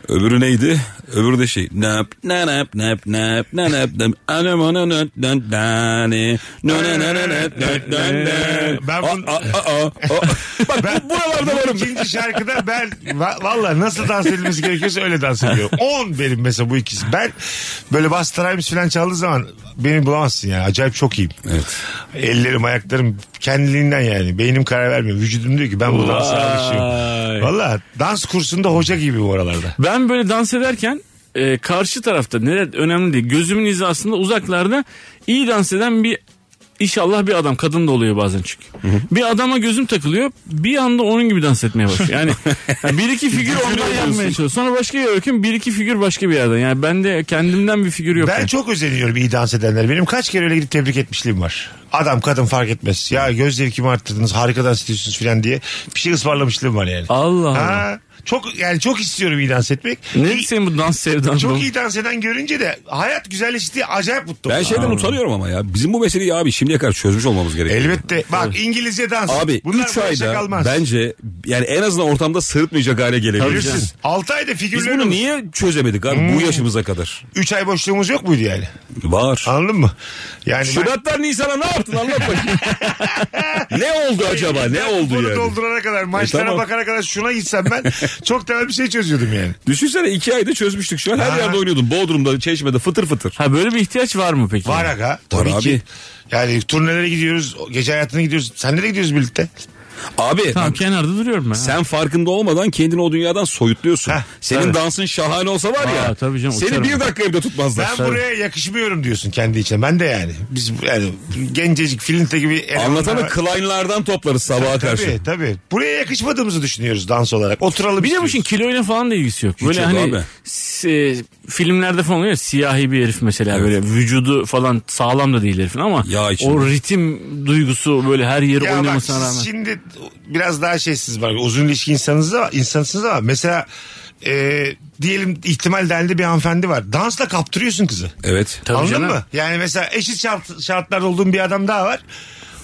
[SPEAKER 6] Öbürü neydi? Öbürü de şey. Nap nap nap nap nap nap anam ana nap nap nani no na na na nap nap nap nap.
[SPEAKER 5] Ben bun-
[SPEAKER 6] Aa, aa, aa, aa. Bak bu- buralarda
[SPEAKER 5] Bu
[SPEAKER 6] varım.
[SPEAKER 5] İkinci şarkıda ben va- valla nasıl dans edilmesi gerekiyorsa öyle dans ediyorum. 10 benim mesela bu ikisi. Ben böyle Buster Rhymes falan çaldığı zaman beni bulamazsın yani. Acayip çok iyiyim.
[SPEAKER 6] Evet.
[SPEAKER 5] Ellerim ayaklarım kendiliğinden yani. Beynim karar vermiyor. Vücudum diyor ki ben bu dansa alışıyorum. Valla dans kursunda hoca gibi bu aralarda.
[SPEAKER 7] Ben böyle dans ederken e, karşı tarafta neler önemli değil. Gözümün hizasında uzaklarda iyi dans eden bir inşallah bir adam kadın da oluyor bazen çünkü. Bir adama gözüm takılıyor. Bir anda onun gibi dans etmeye başlıyor. Yani bir iki figür ondan yapmaya çalışıyor. Sonra başka bir bakıyorum bir iki figür başka bir yerden. Yani bende kendimden bir figür yok.
[SPEAKER 5] Ben
[SPEAKER 7] yani.
[SPEAKER 5] çok özeniyorum iyi dans edenler. Benim kaç kere öyle gidip tebrik etmişliğim var. Adam kadın fark etmez. Ya göz zevkimi arttırdınız harika dans ediyorsunuz falan diye bir şey ısmarlamışlığım var yani.
[SPEAKER 7] Allah Allah.
[SPEAKER 5] Ha, çok yani çok istiyorum iyi dans etmek.
[SPEAKER 7] Ne
[SPEAKER 5] İyi-
[SPEAKER 7] senin bu dans sevdan?
[SPEAKER 5] çok
[SPEAKER 7] bu?
[SPEAKER 5] iyi dans eden görünce de hayat güzelleşti acayip mutlu.
[SPEAKER 6] Ben şeyden utanıyorum ama ya. Bizim bu meseleyi abi şimdiye kadar çözmüş olmamız gerekiyor.
[SPEAKER 5] Elbette. Bak İngilizce dans.
[SPEAKER 6] Abi
[SPEAKER 5] Bunlar
[SPEAKER 6] 3
[SPEAKER 5] başa
[SPEAKER 6] ayda
[SPEAKER 5] kalmaz.
[SPEAKER 6] bence yani en azından ortamda sırıtmayacak hale gelebiliriz.
[SPEAKER 5] Bilirsin. 6 ayda
[SPEAKER 6] Biz bunu
[SPEAKER 5] figürlerimiz.
[SPEAKER 6] niye çözemedik abi
[SPEAKER 5] Hmm.
[SPEAKER 6] bu yaşımıza kadar?
[SPEAKER 5] 3 ay boşluğumuz yok muydu yani?
[SPEAKER 6] Var.
[SPEAKER 5] Anladın mı? Yani ben-
[SPEAKER 6] Şubattan Nisan'a ne yaptın anlat bakayım. ne oldu acaba ne oldu
[SPEAKER 5] Bunu
[SPEAKER 6] yani? E,
[SPEAKER 5] doldurana kadar maçlara
[SPEAKER 6] tamam.
[SPEAKER 5] bakana kadar şuna gitsem ben Çok temel bir şey çözüyordum yani.
[SPEAKER 6] Düşünsene iki ayda çözmüştük şu an her
[SPEAKER 5] Ha.
[SPEAKER 6] yerde oynuyordum. Bodrum'da, Çeşme'de fıtır fıtır.
[SPEAKER 7] Ha böyle bir ihtiyaç var mı peki?
[SPEAKER 5] Var aga. Tabii
[SPEAKER 6] Var
[SPEAKER 5] ki.
[SPEAKER 6] abi.
[SPEAKER 5] Yani turnelere gidiyoruz. Gece hayatına gidiyoruz. Sen nereye gidiyoruz birlikte?
[SPEAKER 6] Abi
[SPEAKER 7] Tamam kenarda duruyorum ben.
[SPEAKER 6] sen farkında olmadan kendini o dünyadan soyutluyorsun.
[SPEAKER 5] Heh,
[SPEAKER 6] Senin
[SPEAKER 7] tabii.
[SPEAKER 6] dansın şahane olsa var ya.
[SPEAKER 7] Aa, tabii canım,
[SPEAKER 6] seni
[SPEAKER 7] uçarım.
[SPEAKER 6] bir dakika evde tutmazlar.
[SPEAKER 5] Ben buraya yakışmıyorum diyorsun kendi içine. Ben de yani. Biz bu- yani gencecik filinte gibi. elemanlar-
[SPEAKER 6] Anlatanı Klein'lardan toplarız sabaha karşı.
[SPEAKER 5] Tabii tabii. Buraya yakışmadığımızı düşünüyoruz dans olarak. Oturalım
[SPEAKER 7] Bir de bu
[SPEAKER 5] istiyoruz.
[SPEAKER 7] işin kiloyla falan da ilgisi yok. Böyle
[SPEAKER 6] yok
[SPEAKER 7] hani
[SPEAKER 6] abi.
[SPEAKER 7] si- filmlerde falan oluyor ya, siyahi bir herif mesela böyle vücudu falan sağlam da değil herifin ama
[SPEAKER 6] Yağ içinde.
[SPEAKER 7] o ritim duygusu böyle her yeri
[SPEAKER 5] Ya bak
[SPEAKER 7] oynamasına
[SPEAKER 5] siz
[SPEAKER 7] rağmen.
[SPEAKER 5] şimdi biraz daha şeysiz var. Uzun ilişki insanınız da insansınız ama mesela e, diyelim ihtimal dahilinde bir hanımefendi var. Dansla kaptırıyorsun kızı.
[SPEAKER 6] Evet.
[SPEAKER 7] Tabii
[SPEAKER 5] Anladın
[SPEAKER 7] canım.
[SPEAKER 5] mı? Yani mesela eşit şart, şartlarda olduğum bir adam daha var.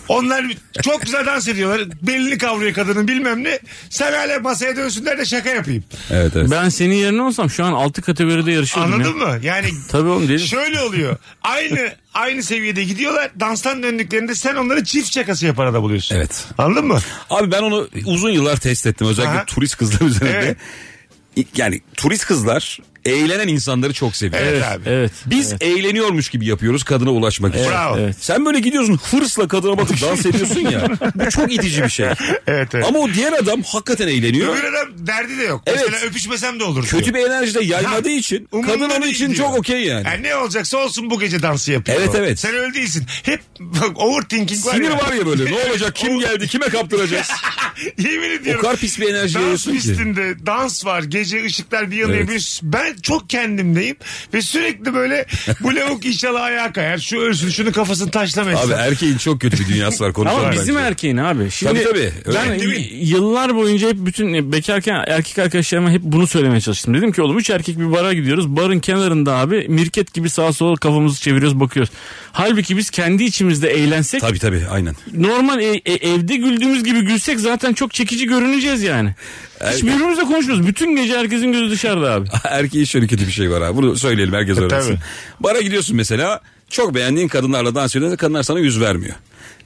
[SPEAKER 5] Onlar çok güzel dans ediyorlar. Belini kavruyor kadının bilmem ne. Sen hala masaya dönsünler de şaka yapayım.
[SPEAKER 6] Evet evet.
[SPEAKER 7] Ben senin yerine olsam şu an 6 kategoride yarışıyordum ya.
[SPEAKER 5] Anladın mı? Yani
[SPEAKER 7] Tabii oğlum değil.
[SPEAKER 5] şöyle oluyor. Aynı aynı seviyede gidiyorlar. Danstan döndüklerinde sen onları çift şakası yapar arada buluyorsun.
[SPEAKER 6] Evet.
[SPEAKER 5] Anladın mı?
[SPEAKER 6] Abi ben onu uzun yıllar test ettim özellikle
[SPEAKER 5] Aha.
[SPEAKER 6] turist kızlar üzerinde.
[SPEAKER 5] Evet.
[SPEAKER 6] Yani turist kızlar eğlenen insanları çok seviyor.
[SPEAKER 5] Evet,
[SPEAKER 6] Evet.
[SPEAKER 5] abi.
[SPEAKER 7] Evet.
[SPEAKER 6] Biz eğleniyormuş gibi yapıyoruz kadına ulaşmak için.
[SPEAKER 5] Bravo.
[SPEAKER 7] evet.
[SPEAKER 6] Sen böyle gidiyorsun hırsla kadına bakıp dans ediyorsun ya. Bu çok itici bir şey.
[SPEAKER 5] Evet, evet.
[SPEAKER 6] Ama o diğer adam hakikaten eğleniyor.
[SPEAKER 5] Öbür adam derdi de yok.
[SPEAKER 6] Evet.
[SPEAKER 5] Mesela öpüşmesem de olur.
[SPEAKER 6] Kötü
[SPEAKER 5] diyor.
[SPEAKER 6] bir enerji de yaymadığı için
[SPEAKER 5] Umurumda
[SPEAKER 6] kadın onun
[SPEAKER 5] değil
[SPEAKER 6] için
[SPEAKER 5] diyor.
[SPEAKER 6] çok okey yani.
[SPEAKER 5] Yani ne olacaksa olsun bu gece dansı yapıyor.
[SPEAKER 6] Evet, evet.
[SPEAKER 5] Sen öyle değilsin. Hep bak, overthinking var
[SPEAKER 6] Sinir
[SPEAKER 5] ya.
[SPEAKER 6] var ya böyle ne olacak kim geldi kime kaptıracağız.
[SPEAKER 5] Yemin ediyorum.
[SPEAKER 6] kadar pis bir enerji
[SPEAKER 5] Dans
[SPEAKER 6] yayıyorsun ki.
[SPEAKER 5] pistinde dans var. Gece ışıklar bir yanıyor.
[SPEAKER 6] Evet.
[SPEAKER 5] bir- Ben çok kendimdeyim. Ve sürekli böyle bu lavuk inşallah ayağa kayar. Şu ölsün şunu kafasını taşlamayasın.
[SPEAKER 6] Abi erkeğin çok kötü bir dünyası var konuşalım.
[SPEAKER 7] Ama bizim
[SPEAKER 6] bence.
[SPEAKER 7] erkeğin abi. Şimdi
[SPEAKER 6] Tabii, tabii. Öyle.
[SPEAKER 7] Ben
[SPEAKER 6] Değil
[SPEAKER 5] mi?
[SPEAKER 7] y- yıllar boyunca hep bütün e, bekarken erkek arkadaşlarıma hep bunu söylemeye çalıştım. Dedim ki oğlum üç erkek bir bara gidiyoruz. Barın kenarında abi mirket gibi sağa sola kafamızı çeviriyoruz bakıyoruz. Halbuki biz kendi içimizde eğlensek
[SPEAKER 6] Tabii tabii aynen.
[SPEAKER 7] normal e- e- evde güldüğümüz gibi gülsek zaten çok çekici görüneceğiz yani. Hiç birbirimizle konuşmuyoruz. Bütün gece herkesin gözü dışarıda abi.
[SPEAKER 6] Erkeğin şöyle kötü bir şey var abi. Bunu söyleyelim
[SPEAKER 5] E,
[SPEAKER 6] herkes öğrensin. Bara gidiyorsun mesela. Çok beğendiğin kadınlarla dans ediyorsun. Kadınlar sana yüz vermiyor.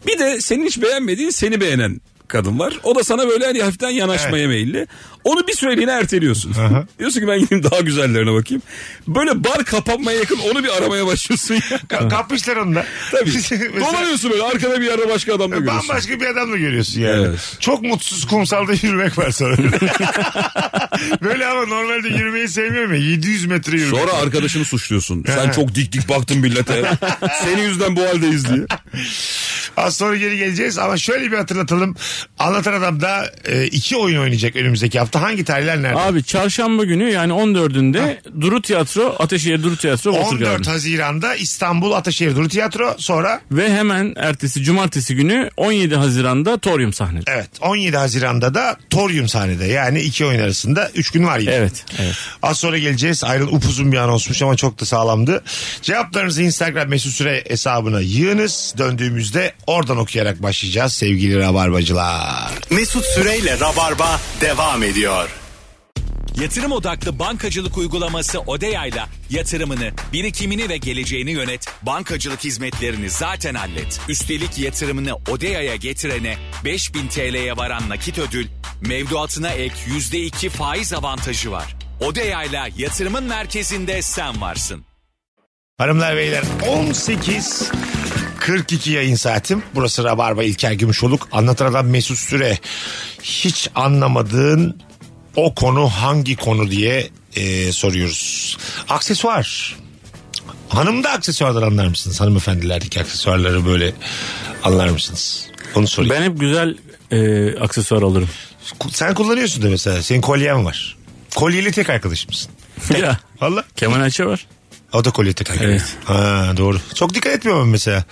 [SPEAKER 6] Bir de senin hiç beğenmediğin seni beğenen kadın var. O da sana böyle hani hafiften yanaşmaya meyilli. Onu bir süreliğine erteliyorsun. Diyorsun ki ben gideyim daha güzellerine bakayım. Böyle bar kapanmaya yakın onu bir aramaya başlıyorsun. ya.
[SPEAKER 5] Ka- kapmışlar onu da.
[SPEAKER 6] Tabii.
[SPEAKER 5] Şey, Mesela- E,
[SPEAKER 6] Dolanıyorsun böyle arkada bir yerde başka adamla görüyorsun.
[SPEAKER 5] Bambaşka bir adamla görüyorsun yani.
[SPEAKER 6] Evet.
[SPEAKER 5] Çok mutsuz kumsalda yürümek var sonra. Böyle ama normalde yürümeyi sevmiyorum ya. 700 metre yürümek.
[SPEAKER 6] Sonra arkadaşını suçluyorsun. Sen çok dik dik baktın millete. Senin yüzden bu haldeyiz diye.
[SPEAKER 5] Az sonra geri geleceğiz ama şöyle bir hatırlatalım. Anlatan Adam da e, iki oyun oynayacak önümüzdeki hafta. Hangi tarihler nerede?
[SPEAKER 7] Abi çarşamba günü yani 14'ünde Duru Tiyatro, Ateşehir Duru Tiyatro, Watergarden.
[SPEAKER 5] 14 Haziran'da İstanbul Ataşehir Duru Tiyatro sonra
[SPEAKER 7] Ve hemen ertesi cumartesi günü 17 Haziran'da Torium sahnede.
[SPEAKER 5] evet 17 Haziran'da da Torium sahnede yani iki oyun arasında 3 gün var yine.
[SPEAKER 7] Evet, evet.
[SPEAKER 5] Az sonra geleceğiz. Ayrıl upuzun bir anonsmuş ama çok da sağlamdı. Cevaplarınızı Instagram mesut süre hesabına yığınız. Döndüğümüzde oradan okuyarak başlayacağız sevgili rabarbacılar.
[SPEAKER 4] Mesut Süreyle Rabarba devam ediyor.
[SPEAKER 3] Yatırım odaklı bankacılık uygulaması Odeya'yla yatırımını, birikimini ve geleceğini yönet. Bankacılık hizmetlerini zaten hallet. Üstelik yatırımını Odeya'ya getirene 5000 TL'ye varan nakit ödül, mevduatına ek %2 faiz avantajı var. Odeya'yla yatırımın merkezinde sen varsın.
[SPEAKER 5] Hanımlar beyler 18 42 yayın saatim. Burası Rabarba İlker Gümüşoluk. Anlatan Adam Mesut Süre. Hiç anlamadığın o konu hangi konu diye e, soruyoruz. Aksesuar. Hanımda aksesuardan anlar mısınız? Hanımefendilerdeki aksesuarları böyle anlar mısınız? Onu sorayım.
[SPEAKER 7] Ben hep güzel e, aksesuar alırım.
[SPEAKER 5] Sen kullanıyorsun da mesela. Senin kolyen var. Kolyeli tek arkadaşımsın.
[SPEAKER 7] ya
[SPEAKER 5] Valla.
[SPEAKER 7] Kemal Ayça var.
[SPEAKER 5] O da kolye takar.
[SPEAKER 7] Evet.
[SPEAKER 5] Ha, doğru. Çok dikkat etmiyorum ben mesela.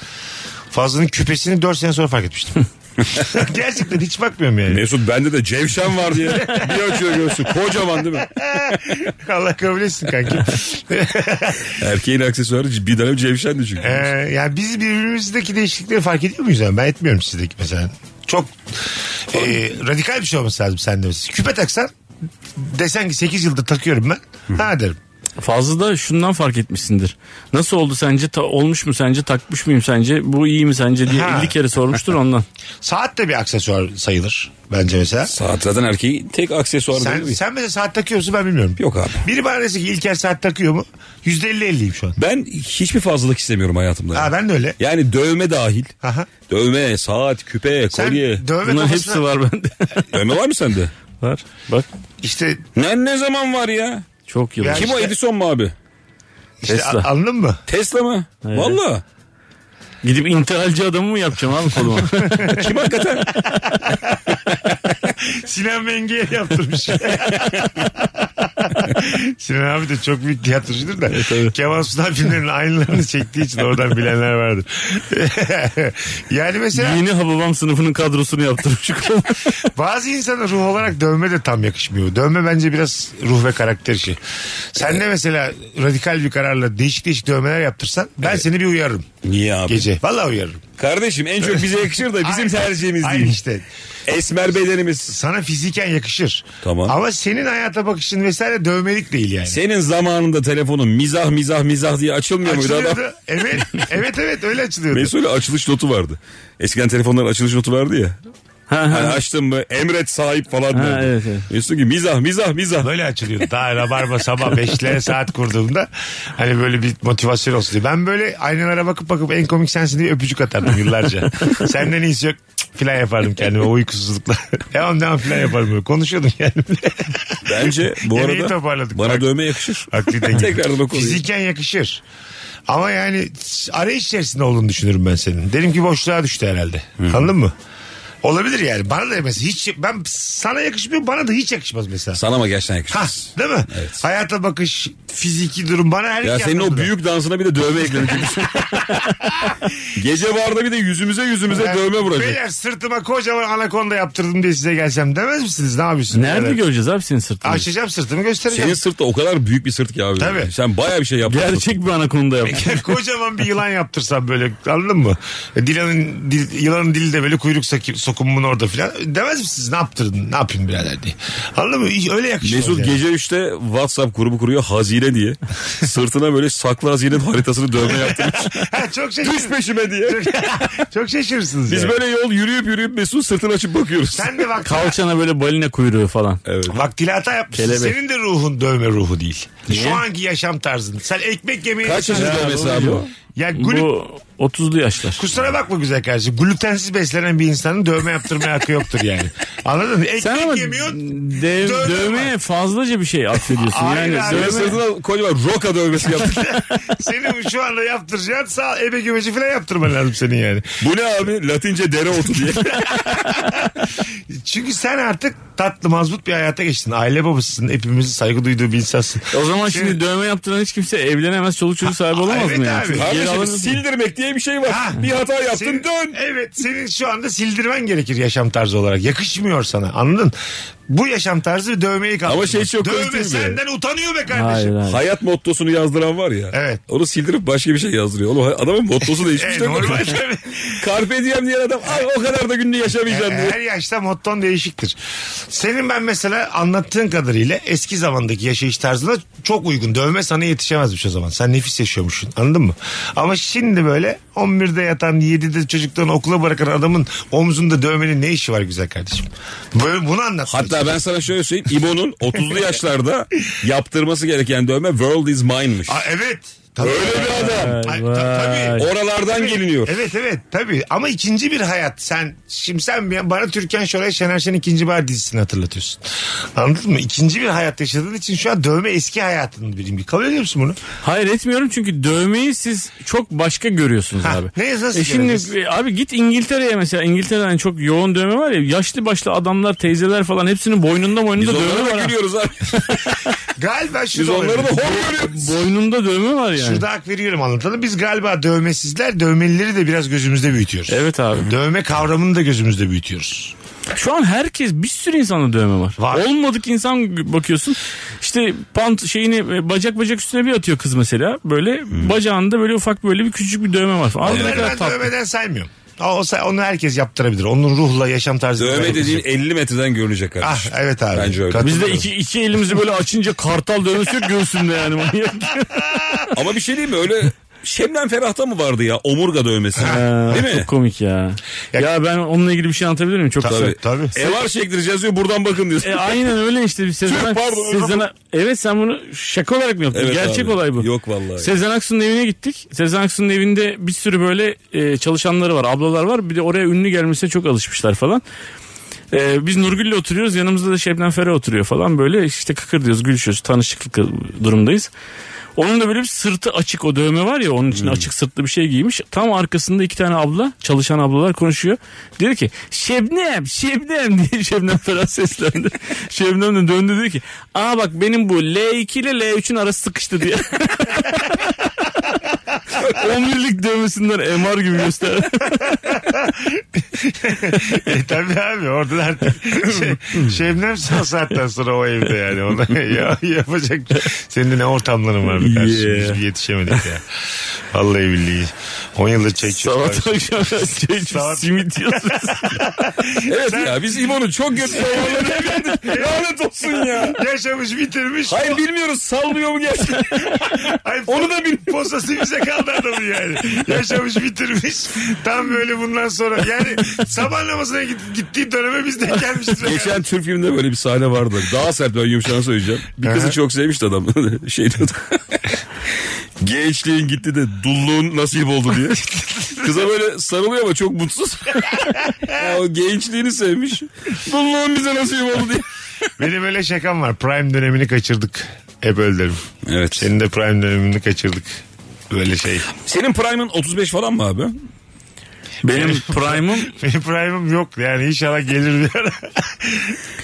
[SPEAKER 5] Fazlının küpesini 4 sene sonra fark etmiştim. Gerçekten hiç bakmıyorum yani.
[SPEAKER 6] Mesut bende de cevşen var diye bir açıyor göğsü. Kocaman değil mi?
[SPEAKER 5] Allah kabul etsin kanki.
[SPEAKER 6] Erkeğin aksesuarı bir dönem cevşendi çünkü.
[SPEAKER 5] ee, yani biz birbirimizdeki değişiklikleri fark ediyor muyuz? Yani? Ben etmiyorum sizdeki mesela. Çok e, radikal bir şey olması lazım sende. mesela. Küpe taksan desen ki 8 yıldır takıyorum ben. Ha derim.
[SPEAKER 7] Fazla da şundan fark etmişsindir. Nasıl oldu sence? Ta- olmuş mu sence? Takmış mıyım sence? Bu iyi mi sence diye
[SPEAKER 5] Ha.
[SPEAKER 7] 50 kere sormuştur ondan.
[SPEAKER 5] Saat de bir aksesuar sayılır bence mesela.
[SPEAKER 6] Saat zaten erkeğin tek aksesuarı
[SPEAKER 5] Sen,
[SPEAKER 6] değil mi?
[SPEAKER 5] sen mesela saat takıyor musun ben bilmiyorum.
[SPEAKER 6] Yok abi.
[SPEAKER 5] Biri bana dese ki İlker saat takıyor mu? %50-50'yim şu an.
[SPEAKER 6] Ben hiçbir fazlalık istemiyorum hayatımda.
[SPEAKER 5] Ha,
[SPEAKER 6] yani.
[SPEAKER 5] ben de öyle.
[SPEAKER 6] Yani dövme dahil.
[SPEAKER 5] Aha.
[SPEAKER 6] Dövme, saat, küpe,
[SPEAKER 5] Sen
[SPEAKER 6] kolye.
[SPEAKER 5] dövme
[SPEAKER 7] Bunların
[SPEAKER 5] kafasına-
[SPEAKER 7] hepsi var bende.
[SPEAKER 6] Dövme var mı sende?
[SPEAKER 7] var. Bak.
[SPEAKER 5] İşte,
[SPEAKER 6] Ne, ne zaman var ya?
[SPEAKER 7] Çok yıllar.
[SPEAKER 5] Ya
[SPEAKER 6] Kim o
[SPEAKER 5] işte-
[SPEAKER 6] Edison mu abi?
[SPEAKER 5] işte
[SPEAKER 7] Tesla.
[SPEAKER 5] a- anladın mı?
[SPEAKER 6] Tesla mı?
[SPEAKER 7] Evet.
[SPEAKER 6] Valla.
[SPEAKER 7] Gidip intihalci adamı mı yapacağım abi koluma?
[SPEAKER 6] Kim hakikaten?
[SPEAKER 5] Sinan Menge'ye yaptırmış. Sinan abi de çok büyük tiyatrocudur da. Kemal Sunal filmlerinin aynılarını çektiği için oradan bilenler vardır. yani mesela
[SPEAKER 7] Yeni Hababam sınıfının kadrosunu yaptırmış koluma.
[SPEAKER 5] bazı insana ruh olarak dövme de tam yakışmıyor. Dövme bence biraz ruh ve karakter işi. Sen de mesela radikal bir kararla değişik değişik dövmeler yaptırsan ben seni bir uyarırım.
[SPEAKER 6] Niye abi?
[SPEAKER 5] Gece. Vallahi uyarırım.
[SPEAKER 6] Kardeşim en çok bize yakışır da bizim
[SPEAKER 5] Aynen.
[SPEAKER 6] tercihimiz
[SPEAKER 5] Aynen
[SPEAKER 6] değil.
[SPEAKER 5] işte.
[SPEAKER 6] Esmer bedenimiz.
[SPEAKER 5] Sana fiziken yakışır.
[SPEAKER 6] Tamam.
[SPEAKER 5] Ama senin hayata bakışın vesaire dövmelik değil yani.
[SPEAKER 6] Senin zamanında telefonun mizah mizah mizah diye açılmıyor muydu adam?
[SPEAKER 5] Açılıyordu. Evet, evet evet öyle açılıyordu.
[SPEAKER 6] Mesul'e açılış notu vardı. Eskiden telefonların açılış notu vardı ya.
[SPEAKER 7] Ha,
[SPEAKER 6] Hani
[SPEAKER 7] ha.
[SPEAKER 6] açtım mı emret sahip falan
[SPEAKER 7] Ha,
[SPEAKER 6] diyordu.
[SPEAKER 7] evet, evet.
[SPEAKER 6] Mesut ki mizah mizah mizah.
[SPEAKER 5] Böyle açılıyordu. Daha rabarba sabah 5'lere saat kurduğumda hani böyle bir motivasyon olsun diye. Ben böyle aynalara bakıp bakıp en komik sensin diye öpücük atardım yıllarca. Senden iyisi yok cık filan yapardım kendime o uykusuzlukla. devam devam filan yapardım böyle. Konuşuyordum kendimle.
[SPEAKER 6] Bence bu
[SPEAKER 5] Yemeği
[SPEAKER 6] arada
[SPEAKER 5] toparladık.
[SPEAKER 6] bana
[SPEAKER 5] Bak.
[SPEAKER 6] dövme yakışır.
[SPEAKER 5] Akli denge.
[SPEAKER 6] Tekrardan o konuyu.
[SPEAKER 5] Fiziken yakışır. Ama yani arayış içerisinde olduğunu düşünürüm ben senin. Derim ki boşluğa düştü herhalde. Anladın mı? Olabilir yani. Bana da mesela hiç ben sana yakışmıyor bana da hiç yakışmaz mesela.
[SPEAKER 6] Sana mı gerçekten yakışır?
[SPEAKER 5] Ha, değil mi?
[SPEAKER 6] Evet.
[SPEAKER 5] Hayata bakış, fiziki durum bana her şey
[SPEAKER 6] Ya
[SPEAKER 5] iki
[SPEAKER 6] senin o
[SPEAKER 5] anlamda.
[SPEAKER 6] büyük dansına bir de dövme eklenecek. Gece barda bir de yüzümüze yüzümüze
[SPEAKER 5] Ben-
[SPEAKER 6] dövme vuracak.
[SPEAKER 5] Beyler sırtıma kocaman anakonda yaptırdım diye size gelsem demez misiniz? Ne yapıyorsunuz?
[SPEAKER 7] Nerede
[SPEAKER 5] Beyler?
[SPEAKER 7] göreceğiz abi senin sırtını?
[SPEAKER 5] Açacağım sırtımı göstereceğim.
[SPEAKER 6] Senin sırt da o kadar büyük bir sırt ki abi.
[SPEAKER 5] Tabii.
[SPEAKER 6] Sen baya bir şey yaptın.
[SPEAKER 7] Gerçek bir anakonda yap.
[SPEAKER 5] kocaman bir yılan yaptırsam böyle anladın mı? E, Dilanın, dil- yılanın dili de böyle kuyruk saki- sokumun orada filan. Demez misiniz ne yaptırdın ne yapayım birader diye. Anladın mı? Hiç Öyle yakışmıyor.
[SPEAKER 6] Mesut
[SPEAKER 5] yani.
[SPEAKER 6] gece 3'te WhatsApp grubu kuruyor hazine diye. Sırtına böyle saklı hazinenin haritasını dövme yaptırmış.
[SPEAKER 5] Ha, çok
[SPEAKER 6] Düş
[SPEAKER 5] şaşırırsınız.
[SPEAKER 6] peşime diye.
[SPEAKER 5] çok, çok şaşırırsınız.
[SPEAKER 6] Biz
[SPEAKER 5] yani.
[SPEAKER 6] böyle yol yürüyüp yürüyüp Mesut sırtını açıp bakıyoruz.
[SPEAKER 5] Sen de vakti,
[SPEAKER 7] Kalçana böyle balina kuyruğu falan.
[SPEAKER 6] Evet.
[SPEAKER 5] vaktili hata yapmışsın.
[SPEAKER 7] Kelebek.
[SPEAKER 5] Senin de ruhun dövme ruhu değil. Şu anki yaşam tarzın. Sen ekmek yemeye...
[SPEAKER 6] Kaç yaşında dövmesi abi o?
[SPEAKER 5] Ya glü-
[SPEAKER 7] Bu 30'lu yaşlar.
[SPEAKER 5] Kusura bakma güzel kardeşim. Glutensiz beslenen bir insanın dövme yaptırmaya hakkı yoktur yani. Anladın mı? Ekmek
[SPEAKER 7] Sen ama
[SPEAKER 5] yemiyorsun.
[SPEAKER 7] dev-
[SPEAKER 5] dövme
[SPEAKER 7] dövmeye fazlaca bir şey atfediyorsun.
[SPEAKER 5] Hayır
[SPEAKER 7] yani
[SPEAKER 5] abi.
[SPEAKER 6] Ve
[SPEAKER 7] dövme-
[SPEAKER 6] sırtına kocaman roka dövmesi yaptık.
[SPEAKER 5] Senin şu anda yaptıracağın sağ ebe gümeci falan yaptırman lazım senin yani.
[SPEAKER 6] Bu ne abi? Latince dereotu diye.
[SPEAKER 5] Çünkü sen artık tatlı mazbut bir hayata geçtin. Aile babasısın. Hepimizin saygı duyduğu bir insansın.
[SPEAKER 7] o zaman şimdi
[SPEAKER 5] Senin-
[SPEAKER 7] dövme yaptıran hiç kimse evlenemez, çoluk çocuk sahibi olamaz
[SPEAKER 5] evet
[SPEAKER 7] mı yani?
[SPEAKER 5] abi.
[SPEAKER 7] Çünkü geri
[SPEAKER 6] Kardeşim
[SPEAKER 7] alamıyorsun.
[SPEAKER 6] sildirmek diye bir şey var.
[SPEAKER 5] Ha.
[SPEAKER 6] Bir hata yaptın
[SPEAKER 5] Senin-
[SPEAKER 6] dön.
[SPEAKER 5] Evet senin şu anda sildirmen gerekir yaşam tarzı olarak. Yakışmıyor sana anladın? Bu yaşam tarzı dövmeyi kaldırmaz.
[SPEAKER 6] Ama şey çok komik
[SPEAKER 5] Dövme
[SPEAKER 6] değil mi?
[SPEAKER 5] senden utanıyor be kardeşim.
[SPEAKER 7] Hayır, hayır.
[SPEAKER 6] Hayat mottosunu yazdıran var ya.
[SPEAKER 5] Evet.
[SPEAKER 6] Onu sildirip başka bir şey yazdırıyor. Oğlum adamın mottosu değişmiş
[SPEAKER 5] E,
[SPEAKER 6] değil mi?
[SPEAKER 5] normal tabii. E,
[SPEAKER 6] Carpe diem diyen adam ay o kadar da gününü yaşamayacaksın diyor.
[SPEAKER 5] Her yaşta motton değişiktir. Senin ben mesela anlattığın kadarıyla eski zamandaki yaşayış tarzına çok uygun. Dövme sana yetişemezmiş o zaman. Sen nefis yaşıyormuşsun anladın mı? Ama şimdi böyle 11'de yatan 7'de çocuklarını okula bırakan adamın omzunda dövmenin ne işi var güzel kardeşim? Böyle bunu anlat.
[SPEAKER 6] Hatta ben sana şöyle söyleyeyim. İbo'nun 30'lu yaşlarda yaptırması gereken dövme World is Mine'mış.
[SPEAKER 5] Aa, evet. Tabii.
[SPEAKER 6] Öyle bir adam.
[SPEAKER 5] Ay, ta- tabii.
[SPEAKER 6] Oralardan geliniyor.
[SPEAKER 5] Evet evet tabii ama ikinci bir hayat sen şimdi sen bir- bana Türkan Şoray Şener Şen ikinci bahar dizisini hatırlatıyorsun. Anladın mı? İkinci bir hayat yaşadığın için şu an dövme eski hayatının birimi. Kabul ediyor musun bunu?
[SPEAKER 7] Hayır etmiyorum çünkü dövmeyi siz çok başka görüyorsunuz
[SPEAKER 5] Ha,
[SPEAKER 7] abi.
[SPEAKER 5] ne yazısı
[SPEAKER 7] E
[SPEAKER 5] görüyorsunuz?
[SPEAKER 7] şimdi e, abi git İngiltere'ye mesela İngiltere'de hani çok yoğun dövme var ya yaşlı başlı adamlar teyzeler falan hepsinin boynunda
[SPEAKER 6] Biz
[SPEAKER 7] boynunda dövme
[SPEAKER 6] onlara
[SPEAKER 7] var.
[SPEAKER 6] da
[SPEAKER 7] ha.
[SPEAKER 6] gülüyoruz abi.
[SPEAKER 5] Galiba şu
[SPEAKER 6] Biz
[SPEAKER 5] da
[SPEAKER 6] onları da
[SPEAKER 5] olabilir.
[SPEAKER 6] hor görüyoruz.
[SPEAKER 7] Boynunda dövme var yani.
[SPEAKER 5] Şurada hak veriyorum anlatalım. Biz galiba dövmesizler dövmelileri de biraz gözümüzde büyütüyoruz.
[SPEAKER 7] Evet abi.
[SPEAKER 5] Dövme kavramını da gözümüzde büyütüyoruz.
[SPEAKER 7] Şu an herkes bir sürü insanda dövme var.
[SPEAKER 5] Var.
[SPEAKER 7] Olmadık insan bakıyorsun. İşte pant şeyini e, bacak bacak üstüne bir atıyor
[SPEAKER 5] Hmm.
[SPEAKER 7] kız mesela. Böyle bacağında böyle ufak böyle bir küçük bir dövme var. Abi ne
[SPEAKER 5] Onları
[SPEAKER 7] kadar
[SPEAKER 5] ben
[SPEAKER 7] tatlı.
[SPEAKER 5] dövmeden saymıyorum. O, o- onu herkes yaptırabilir. Onun ruhla yaşam tarzı.
[SPEAKER 6] Dövme dediğin 50 metreden görünecek
[SPEAKER 5] Ah
[SPEAKER 6] kardeşim.
[SPEAKER 5] evet abi.
[SPEAKER 6] Bence öyle.
[SPEAKER 5] Kat-
[SPEAKER 7] Biz de iki, iki elimizi böyle açınca kartal dövmesi yok göğsünde yani manyak.
[SPEAKER 6] Ama bir şey diyeyim mi öyle Şemden Ferah'ta mı vardı ya omurga dövmesi? Değil mi?
[SPEAKER 7] Çok komik ya.
[SPEAKER 5] Ya-
[SPEAKER 7] ya. ben onunla ilgili bir şey anlatabilir miyim? Çok kısa.
[SPEAKER 5] Tabii. Tabii.
[SPEAKER 6] E var çektireceğiz diyor buradan bakın diyorsun.
[SPEAKER 7] E, aynen öyle işte bir Sezen
[SPEAKER 6] Tüh,
[SPEAKER 7] Ak-
[SPEAKER 6] pardon, özür
[SPEAKER 7] Sezen Ak- Evet sen bunu şaka olarak mı yaptın?
[SPEAKER 6] Evet
[SPEAKER 7] Gerçek
[SPEAKER 6] abi.
[SPEAKER 7] olay bu.
[SPEAKER 6] Yok vallahi.
[SPEAKER 7] Sezen Aksu'nun evine gittik. Sezen Aksu'nun evinde bir sürü böyle e, çalışanları var, ablalar var. Bir de oraya ünlü gelmesine çok alışmışlar falan. E, biz Nurgül'le oturuyoruz. Yanımızda da Şebnem Ferah oturuyor falan. Böyle işte kıkır diyoruz, gülüşüyoruz. Tanışıklık durumdayız. Onun da böyle bir sırtı açık o dövme var ya onun için açık sırtlı bir şey giymiş. Tam arkasında iki tane abla çalışan ablalar konuşuyor. Diyor ki Şebnem Şebnem diye Şebnem Ferah seslendi. Şebnem de döndü dedi ki aa bak benim bu L2 ile L3'ün arası sıkıştı diye. 11'lik dövmesinden MR gibi göster.
[SPEAKER 5] E, tabii abi orada da artık şey, Şebnem sağ saatten sonra o evde yani. Ona ya, yapacak. Senin de ne ortamların var bir kardeşim. Biz
[SPEAKER 7] Yeah.
[SPEAKER 5] bir yetişemedik ya. Vallahi billahi. 10 yıldır çay içiyoruz.
[SPEAKER 7] Sabah akşam
[SPEAKER 6] şey,
[SPEAKER 7] çay içip
[SPEAKER 5] Sabah-
[SPEAKER 7] simit yiyorsunuz.
[SPEAKER 6] Evet ya biz İbo'nun çok kötü dövmelerine geldik. Lanet olsun ya.
[SPEAKER 5] Yaşamış bitirmiş.
[SPEAKER 6] Hayır bilmiyoruz sallıyor mu gerçekten?
[SPEAKER 5] Ay,
[SPEAKER 6] Onu da bil-
[SPEAKER 5] Posası bize kaldı adamın yani. Yaşamış bitirmiş. Tam böyle bundan sonra. Yani sabah namazına git- gittiği döneme biz de gelmişiz. be
[SPEAKER 6] Geçen Türk filminde böyle bir sahne vardı. Daha sert ben yumuşağını söyleyeceğim. Bir
[SPEAKER 5] Aha.
[SPEAKER 6] kızı çok sevmişti adam. şey diyordu. Gençliğin gitti de dulluğun nasip oldu diye. Kıza böyle sarılıyor ama çok mutsuz. Ya o gençliğini sevmiş. Dulluğun bize nasip oldu diye.
[SPEAKER 5] Benim öyle şakam var. Prime dönemini kaçırdık. Hep öyle derim.
[SPEAKER 6] Evet.
[SPEAKER 5] Senin de prime dönemini kaçırdık. Böyle şey.
[SPEAKER 6] Senin Prime'ın 35 falan mı abi?
[SPEAKER 7] Benim prime'ım
[SPEAKER 5] Benim prime'ım yok yani inşallah gelir bir ara.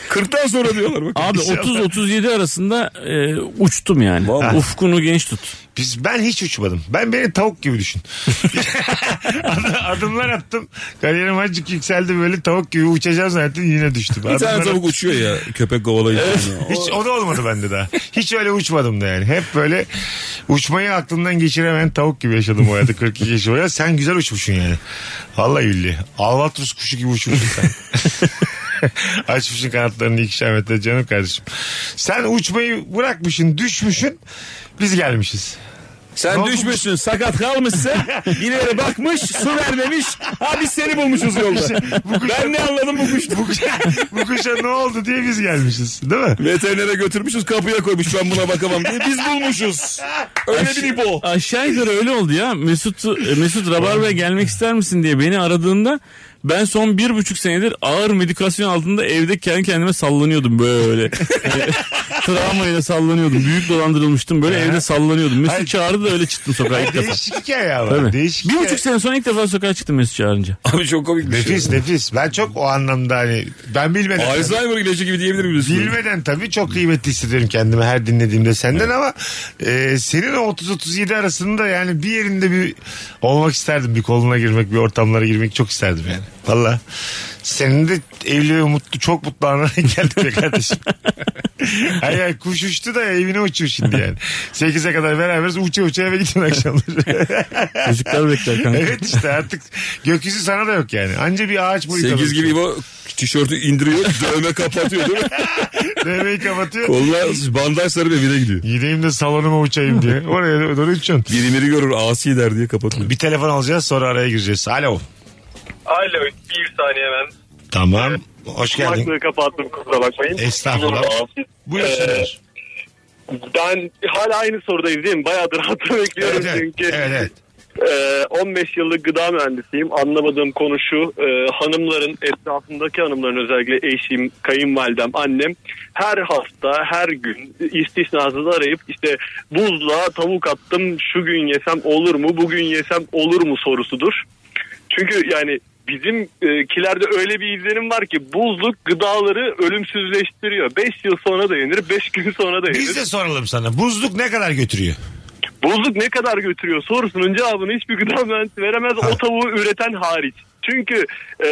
[SPEAKER 6] 40'tan sonra diyorlar bak.
[SPEAKER 7] Abi
[SPEAKER 5] İnşallah.
[SPEAKER 7] 30-37 arasında e, uçtum yani.
[SPEAKER 6] Vallahi.
[SPEAKER 7] Ufkunu genç tut.
[SPEAKER 5] Biz, ben hiç uçmadım. Ben beni tavuk gibi düşün. Ad- Adımlar attım. Kariyerim azıcık yükseldi böyle tavuk gibi uçacağım zaten yine düştüm.
[SPEAKER 6] Bir tane
[SPEAKER 5] Adımlar-
[SPEAKER 6] tavuk uçuyor ya köpek kovalayıcı.
[SPEAKER 5] Hiç o da olmadı bende daha. Hiç öyle uçmadım da yani. Hep böyle uçmayı aklımdan geçiremeyen tavuk gibi yaşadım o hayatı 42 yaş boyunca. Sen güzel uçmuşsun yani. Vallahi billahi. Albatros kuşu gibi uçmuşsun sen. Açmışsın kanatlarını ikişer metre canım kardeşim. Sen uçmayı bırakmışsın, düşmüşsün. Biz gelmişiz.
[SPEAKER 6] Sen düşmüşsün sakat kalmışsın. Birileri bakmış su vermemiş. Ha biz seni bulmuşuz yolda. ben ne anladım bu kuştan?
[SPEAKER 5] Bu, kuşa, bu kuşa ne oldu diye biz gelmişiz. Değil mi?
[SPEAKER 6] Veterinere götürmüşüz kapıya koymuş ben buna bakamam diye. Biz bulmuşuz. Öyle bir ipo.
[SPEAKER 7] Aşağı yukarı öyle oldu ya. Mesut e, Mesut Rabarba'ya gelmek ister misin diye beni aradığında ben son bir buçuk senedir ağır medikasyon altında evde kendi kendime sallanıyordum böyle. E, Travmayla sallanıyordum. Büyük dolandırılmıştım. Böyle evde sallanıyordum. Mesut
[SPEAKER 5] Hayır.
[SPEAKER 7] çağırdı da öyle çıktım sokağa ilk defa.
[SPEAKER 5] Değişik hikaye ama.
[SPEAKER 7] Tabii.
[SPEAKER 5] Değişik
[SPEAKER 7] Bir
[SPEAKER 5] hikaye.
[SPEAKER 7] buçuk sene sonra ilk defa sokağa çıktım Mesut çağırınca.
[SPEAKER 6] Abi çok komik bir şey.
[SPEAKER 5] Nefis nefis. Ben çok o anlamda hani ben bilmeden.
[SPEAKER 6] Alzheimer ilacı gibi diyebilir miyiz?
[SPEAKER 5] Bilmeden tabii çok kıymetli hissediyorum kendimi her dinlediğimde senden ama e, senin o 30-37 arasında yani bir yerinde bir olmak isterdim. Bir koluna girmek, bir ortamlara girmek çok isterdim yani. Valla. Senin de evli ve mutlu, çok mutlu anına geldik be kardeşim. hayır hayır kuş uçtu da evine uçuyor şimdi yani. 8'e kadar beraberiz uça uça eve gidin akşamları.
[SPEAKER 7] Çocuklar bekler kanka.
[SPEAKER 5] evet işte artık gökyüzü sana da yok yani. Anca bir ağaç boyu.
[SPEAKER 6] 8 gibi bu tişörtü indiriyor dövme kapatıyor değil mi?
[SPEAKER 5] Devreyi kapatıyor.
[SPEAKER 6] Koluna bandaj sarıp evine gidiyor.
[SPEAKER 5] Gideyim de salonuma uçayım diye. Oraya doğru uçuyorsun.
[SPEAKER 6] Birimiri görür asi der diye kapatıyor.
[SPEAKER 5] Bir telefon alacağız sonra araya gireceğiz. Alo.
[SPEAKER 9] Alo bir saniye ben
[SPEAKER 5] Tamam. Hoş geldin.
[SPEAKER 9] kulaklığı kapattım kusura bakmayın.
[SPEAKER 5] Estağfurullah.
[SPEAKER 9] Ee,
[SPEAKER 5] Buyursunlar.
[SPEAKER 9] Ben hala aynı sorudayız değil mi? Bayağıdır hatta bekliyorum
[SPEAKER 5] Evet, evet.
[SPEAKER 9] çünkü.
[SPEAKER 5] Evet, evet.
[SPEAKER 9] Ee, 15 yıllık gıda mühendisiyim. Anlamadığım konu şu. e, hanımların, etrafımdaki hanımların özellikle eşim, kayınvalidem, annem her hafta, her gün istisnasız arayıp işte buzluğa tavuk attım şu gün yesem olur mu, bugün yesem olur mu sorusudur. Çünkü yani bizimkilerde öyle bir izlenim var ki buzluk gıdaları ölümsüzleştiriyor. 5 yıl sonra da yenir, 5 gün sonra da yenir.
[SPEAKER 5] Biz de soralım sana. Buzluk ne kadar götürüyor?
[SPEAKER 9] Bozuk ne kadar götürüyor sorusunun cevabını hiçbir gıda mühendisi veremez o tavuğu üreten hariç. Çünkü e,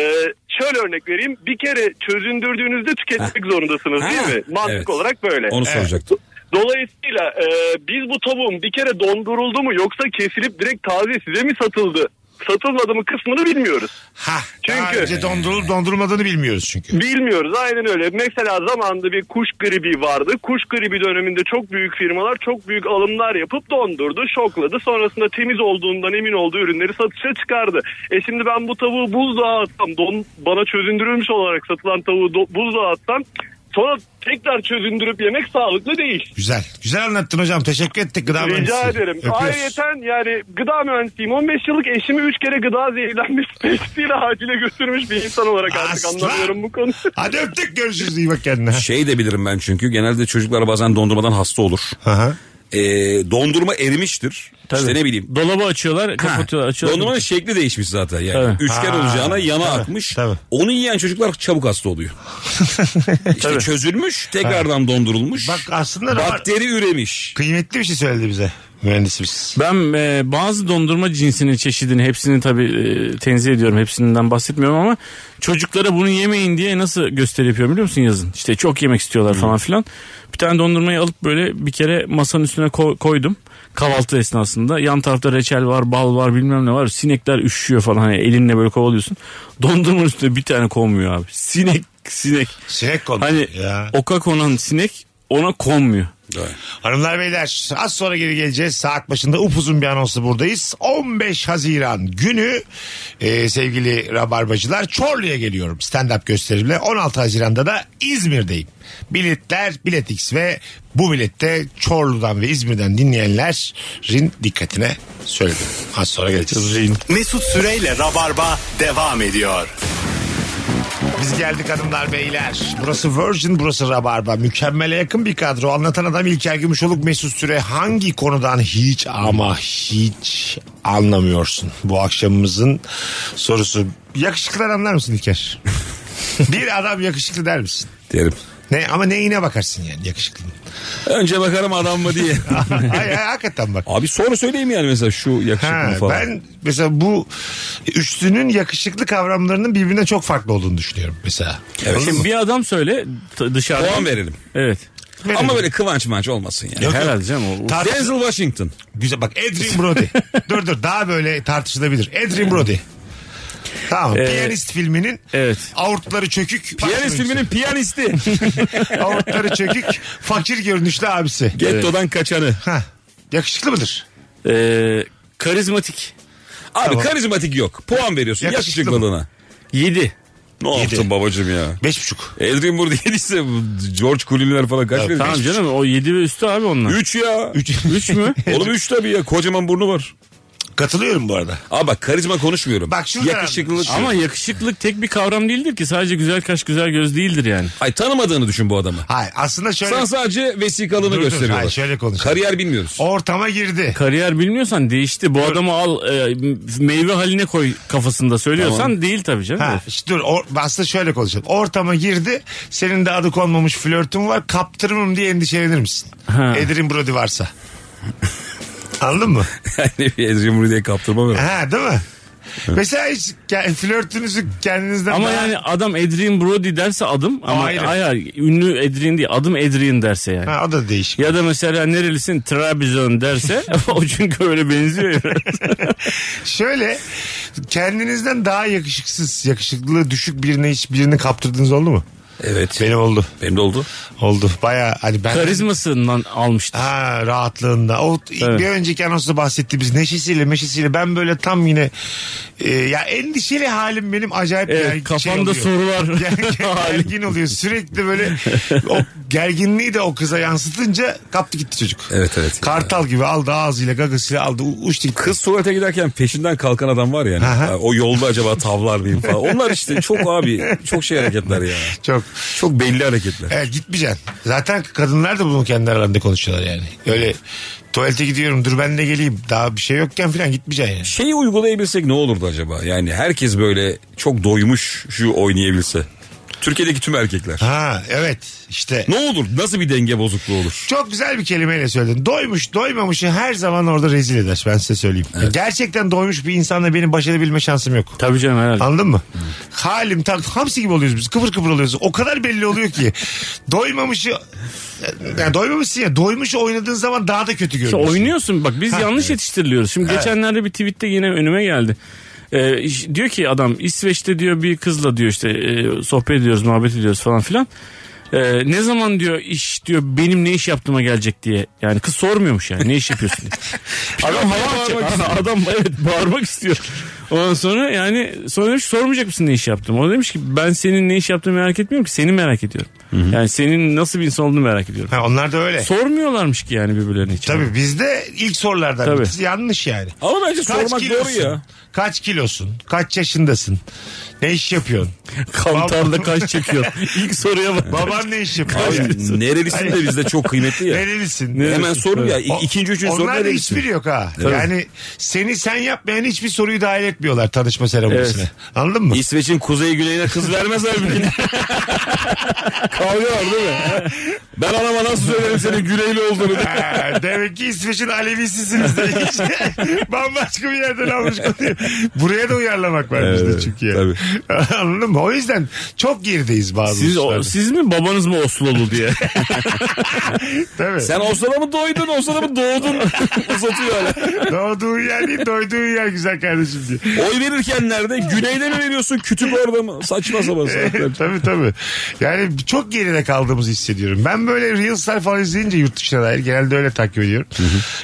[SPEAKER 9] şöyle örnek vereyim bir kere çözündürdüğünüzde tüketmek zorundasınız
[SPEAKER 6] Ha.
[SPEAKER 9] değil mi? Mantık
[SPEAKER 6] Evet.
[SPEAKER 9] olarak böyle.
[SPEAKER 6] Onu soracaktım.
[SPEAKER 9] Dolayısıyla e, biz bu tavuğun bir kere donduruldu mu yoksa kesilip direkt taze size mi satıldı satılmadı mı kısmını bilmiyoruz.
[SPEAKER 5] Ha, daha
[SPEAKER 9] Çünkü-
[SPEAKER 5] önce dondurulup dondurulmadığını bilmiyoruz çünkü.
[SPEAKER 9] Bilmiyoruz aynen öyle. Mesela zamanında bir kuş gribi vardı. Kuş gribi döneminde çok büyük firmalar çok büyük alımlar yapıp dondurdu, şokladı. Sonrasında temiz olduğundan emin olduğu ürünleri satışa çıkardı. E şimdi ben bu tavuğu buzluğa atsam, don, bana çözündürülmüş olarak satılan tavuğu do, buzluğa atsam sonra tekrar çözündürüp yemek sağlıklı değil.
[SPEAKER 5] Güzel. Güzel anlattın hocam. Teşekkür ettik gıda
[SPEAKER 9] Rica
[SPEAKER 5] mühendisi.
[SPEAKER 9] ederim.
[SPEAKER 5] Öpüyoruz.
[SPEAKER 9] Ayrıyeten yani gıda mühendisiyim. 15 yıllık eşimi 3 kere gıda zehirlenmesi teşhisiyle acile götürmüş bir insan olarak artık
[SPEAKER 5] Aslan.
[SPEAKER 9] anlamıyorum bu konuyu.
[SPEAKER 5] Hadi öptük görüşürüz. iyi bak kendine.
[SPEAKER 6] Şey de bilirim ben çünkü genelde çocuklar bazen dondurmadan hasta olur.
[SPEAKER 5] Aha.
[SPEAKER 6] Ee, dondurma erimiştir. İşte ne bileyim.
[SPEAKER 7] Dolabı açıyorlar,
[SPEAKER 6] Ha,
[SPEAKER 7] kapatıyorlar, açıyorlar.
[SPEAKER 6] Dondurmanın şekli değişmiş zaten yani.
[SPEAKER 7] Tabii.
[SPEAKER 6] Üçgen
[SPEAKER 5] Ha,
[SPEAKER 6] olacağına yana
[SPEAKER 5] tabii,
[SPEAKER 6] atmış.
[SPEAKER 5] tabii.
[SPEAKER 6] Onu yiyen çocuklar çabuk hasta oluyor. işte çözülmüş, tekrardan dondurulmuş.
[SPEAKER 5] Bak aslında da var.
[SPEAKER 6] bakteri üremiş.
[SPEAKER 5] kıymetli bir şey söyledi bize mühendisimiz.
[SPEAKER 7] Ben e, bazı dondurma cinsinin çeşidini hepsini tabii e, tenzih ediyorum. Hepsinden bahsetmiyorum ama çocuklara bunu yemeyin diye nasıl gösteri yapıyorum biliyor musun yazın? İşte çok yemek istiyorlar falan filan. Bir tane dondurmayı alıp böyle bir kere masanın üstüne ko- koydum. Kahvaltı esnasında yan tarafta reçel var, bal var, bilmem ne var. Sinekler üşüyor falan hani elinle böyle kovalıyorsun. Dondurmanın üstüne bir tane konmuyor abi. Sinek, sinek.
[SPEAKER 5] Sinek konu.
[SPEAKER 7] Hani
[SPEAKER 5] ya.
[SPEAKER 7] oka konan sinek ona konmuyor.
[SPEAKER 5] Hanımlar beyler az sonra geri geleceğiz. Saat başında upuzun bir anonsla buradayız. 15 Haziran günü e, sevgili Rabarbacılar Çorlu'ya geliyorum stand-up gösterimle. 16 Haziran'da da İzmir'deyim. Biletler Biletix ve bu bilette Çorlu'dan ve İzmir'den dinleyenlerin dikkatine söyledim. Az sonra geleceğiz.
[SPEAKER 4] Mesut Süreyle Rabarba devam ediyor.
[SPEAKER 5] Biz geldik hanımlar beyler. Burası Virgin, burası Rabarba. Mükemmele yakın bir kadro. Anlatan adam İlker Gümüşoluk Mesut Süre. Hangi konudan hiç ama hiç anlamıyorsun? Bu akşamımızın sorusu. Yakışıklılar anlar mısın İlker? bir adam yakışıklı der misin?
[SPEAKER 6] Derim.
[SPEAKER 5] Ne, ama neyine bakarsın yani yakışıklı.
[SPEAKER 6] Önce bakarım adam mı diye.
[SPEAKER 5] Ay, ay, hakikaten bak.
[SPEAKER 6] Abi sonra söyleyeyim yani mesela şu yakışık
[SPEAKER 5] Ha,
[SPEAKER 6] mı falan.
[SPEAKER 5] ben mesela bu üçlünün yakışıklı kavramlarının birbirinden çok farklı olduğunu düşünüyorum mesela.
[SPEAKER 6] Evet.
[SPEAKER 7] Şimdi bir adam söyle t- dışarıda.
[SPEAKER 6] Puan verelim.
[SPEAKER 7] Evet.
[SPEAKER 6] Ama böyle kıvanç maç olmasın yani.
[SPEAKER 5] Yok, yok.
[SPEAKER 7] Herhalde canım. O,
[SPEAKER 5] Ta-
[SPEAKER 6] Denzel Washington.
[SPEAKER 5] Güzel bak Adrian Brody. dur dur daha böyle tartışılabilir. Adrian Brody. Tamam. Piyanist filminin
[SPEAKER 7] Evet.
[SPEAKER 5] avurtları çökük.
[SPEAKER 6] Ee, Piyanist
[SPEAKER 5] başrolcüsü.
[SPEAKER 6] filminin piyanisti.
[SPEAKER 5] avurtları çökük fakir görünüşlü abisi.
[SPEAKER 6] Getto'dan kaçanı.
[SPEAKER 5] Hah. Yakışıklı mıdır?
[SPEAKER 7] Ee, karizmatik.
[SPEAKER 6] Abi
[SPEAKER 5] Tamam.
[SPEAKER 6] karizmatik yok. Puan veriyorsun
[SPEAKER 5] Yakışıklı
[SPEAKER 6] yakışıklılığına.
[SPEAKER 7] 7.
[SPEAKER 6] Ne yaptın babacım ya?
[SPEAKER 5] Beş buçuk.
[SPEAKER 6] Edrin burada yediyse bu George Clooney'ler falan kaç verir?
[SPEAKER 7] Tamam
[SPEAKER 6] Üç.
[SPEAKER 7] canım o 7 ve üstü abi onlar.
[SPEAKER 6] Üç ya.
[SPEAKER 5] Üç.
[SPEAKER 7] Üç mü?
[SPEAKER 6] Oğlum üç tabii ya. Kocaman burnu var.
[SPEAKER 5] Katılıyorum bu arada.
[SPEAKER 6] Abi bak karizma konuşmuyorum.
[SPEAKER 5] Bak şuradan-
[SPEAKER 6] Yakışıklılık.
[SPEAKER 7] Ama yakışıklık tek bir kavram değildir ki. Sadece güzel kaş güzel göz değildir yani.
[SPEAKER 6] Ay tanımadığını düşün bu adamı.
[SPEAKER 5] Hayır aslında şöyle
[SPEAKER 6] Sana sadece vesikalığını
[SPEAKER 5] Dur, dur.
[SPEAKER 6] gösteriyorlar.
[SPEAKER 5] Hayır, şöyle konuşalım.
[SPEAKER 6] Kariyer bilmiyoruz.
[SPEAKER 5] ortama girdi.
[SPEAKER 7] Kariyer bilmiyorsan değişti. Bu adamı al e, meyve haline koy kafasında söylüyorsan değil tabii canım.
[SPEAKER 5] Ha, işte dur or- aslında şöyle konuşalım. Ortama girdi. Senin de adı konmamış flörtün var. Kaptırırım diye endişelenir misin?
[SPEAKER 7] Ha.
[SPEAKER 5] Adrian Brody varsa. Anladın mı?
[SPEAKER 6] yani bir Edrin Murray'e kaptırmam ya.
[SPEAKER 5] Ha değil mi? Mesela hiç ke- flörtünüzü kendinizden
[SPEAKER 7] Ama
[SPEAKER 5] daha-
[SPEAKER 7] yani adam Adrian Brody derse adım ama
[SPEAKER 5] Ayrı.
[SPEAKER 7] hayır. hayır ünlü Adrian değil adım Adrian derse yani.
[SPEAKER 5] Ha, o da değişik.
[SPEAKER 7] Ya da mesela nerelisin Trabzon derse o çünkü öyle benziyor. ya.
[SPEAKER 5] Şöyle kendinizden daha yakışıksız, yakışıklılığı düşük birine hiç birini kaptırdınız oldu mu?
[SPEAKER 6] Evet. Benim,
[SPEAKER 5] Benim oldu.
[SPEAKER 6] benim de oldu.
[SPEAKER 5] Oldu. Baya hani ben...
[SPEAKER 7] Karizmasından almıştı.
[SPEAKER 5] Ha rahatlığında. O
[SPEAKER 7] Evet.
[SPEAKER 5] bir önceki anonsda bahsettiğimiz neşesiyle meşesiyle ben böyle tam yine e, ya endişeli halim benim acayip
[SPEAKER 7] Evet,
[SPEAKER 5] gergin şey
[SPEAKER 7] kafamda
[SPEAKER 5] oluyor.
[SPEAKER 7] sorular.
[SPEAKER 5] Ger- gergin oluyor. Sürekli böyle o gerginliği de o kıza yansıtınca kaptı gitti çocuk.
[SPEAKER 6] Evet, evet.
[SPEAKER 5] Kartal gibi aldı ağzıyla gagasıyla aldı u- uçtu gitti.
[SPEAKER 6] Kız tuvalete giderken peşinden kalkan adam var yani.
[SPEAKER 5] Aha.
[SPEAKER 6] O yolda acaba tavlar mıyım falan. Onlar işte çok abi çok şey hareketler ya.
[SPEAKER 5] Çok.
[SPEAKER 6] Çok belli hareketler.
[SPEAKER 5] Evet gitmeyeceksin. Zaten kadınlar da bunu kendi aralarında konuşuyorlar yani. Öyle tuvalete gidiyorum dur ben de geleyim. Daha bir şey yokken falan gitmeyeceksin yani.
[SPEAKER 6] Şeyi uygulayabilsek ne olurdu acaba? Yani herkes böyle çok doymuş şu oynayabilse. Türkiye'deki tüm erkekler.
[SPEAKER 5] Ha evet işte.
[SPEAKER 6] Ne olur? Nasıl bir denge bozukluğu olur?
[SPEAKER 5] Çok güzel bir kelimeyle söyledin. Doymuş doymamışı her zaman orada rezil eder ben size söyleyeyim. Gerçekten doymuş bir insanla benim baş edebilme şansım yok.
[SPEAKER 7] Tabii canım herhalde.
[SPEAKER 5] Anladın mı? Halim tam hamsi gibi oluyoruz biz. Kıpır kıpır oluyoruz. O kadar belli oluyor ki. Doymamışı yani doymamışsın ya. Doymuş oynadığın zaman daha da kötü
[SPEAKER 7] İşte
[SPEAKER 5] görünüyorsun.
[SPEAKER 7] oynuyorsun bak biz yanlış yetiştiriliyoruz. Şimdi geçenlerde bir tweette yine önüme geldi. Ee, iş- diyor ki adam İsveç'te diyor bir kızla diyor işte e, sohbet ediyoruz muhabbet ediyoruz falan filan. Ee, ne zaman diyor iş diyor benim ne iş yaptığıma gelecek diye. Yani kız sormuyormuş yani ne iş yapıyorsun diye. adam hava atacak. Adam evet bağırmak istiyor. Ondan sonra yani sonra demiş ki, sormayacak mısın ne iş yaptım? O demiş ki ben senin ne iş yaptığını merak etmiyorum ki seni merak ediyorum. Yani senin nasıl bir insan olduğunu merak ediyorum.
[SPEAKER 5] Ha, onlar da öyle.
[SPEAKER 7] Sormuyorlarmış ki yani birbirlerine hiç.
[SPEAKER 5] Tabii bizde ilk sorulardan
[SPEAKER 7] Tabii.
[SPEAKER 5] birisi yanlış yani.
[SPEAKER 6] Ama bence
[SPEAKER 5] Kaç
[SPEAKER 6] sormak doğru
[SPEAKER 5] kilosun?
[SPEAKER 6] ya.
[SPEAKER 5] Kaç kilosun? Kaç yaşındasın? Ne iş yapıyorsun?
[SPEAKER 7] Kantarda kaç çekiyor. İlk soruya bak.
[SPEAKER 5] Baban ne iş yapıyor?
[SPEAKER 6] Abi,
[SPEAKER 5] yani?
[SPEAKER 6] nerelisin de bizde çok kıymetli ya.
[SPEAKER 5] Nerelisin?
[SPEAKER 6] Hemen sorun ya.
[SPEAKER 5] O-
[SPEAKER 6] İ- İkinci, üçüncü soru
[SPEAKER 5] Onlarda
[SPEAKER 6] nerelisin?
[SPEAKER 5] hiçbiri yok ha. Yani seni sen yapmayan hiçbir soruyu dahil etmiyorlar tanışma seremonisine.
[SPEAKER 7] Evet.
[SPEAKER 5] Anladın mı?
[SPEAKER 6] İsveç'in kuzey güneyine kız vermez abi. Kavga var değil mi? Ben anama nasıl söylerim senin güneyli olduğunu.
[SPEAKER 5] Ha, Demek ki İsveç'in Alevisisiniz de hiç. Bambaşka bir yerden almış konuyu. Buraya da uyarlamak var bizde
[SPEAKER 6] Evet,
[SPEAKER 5] çünkü. yani. Anladın mı? O yüzden çok gerideyiz bazı
[SPEAKER 7] Siz, o-
[SPEAKER 5] hususlarda.
[SPEAKER 7] siz mi babanız mı Oslolu diye.
[SPEAKER 5] Tabii.
[SPEAKER 6] Sen Oslo'da mı doydun, Oslo'da mı doğdun? Uzatıyor hala.
[SPEAKER 5] Doğduğun yer değil doyduğun yer güzel kardeşim diye.
[SPEAKER 6] Oy verirken nerede? Güneyde mi veriyorsun, kütüp orada mı? Saçma sapan saatler.
[SPEAKER 5] tabii tabii. Yani çok geride kaldığımızı hissediyorum. Ben böyle Reels'lar falan izleyince yurt dışına dair genelde öyle takip ediyorum.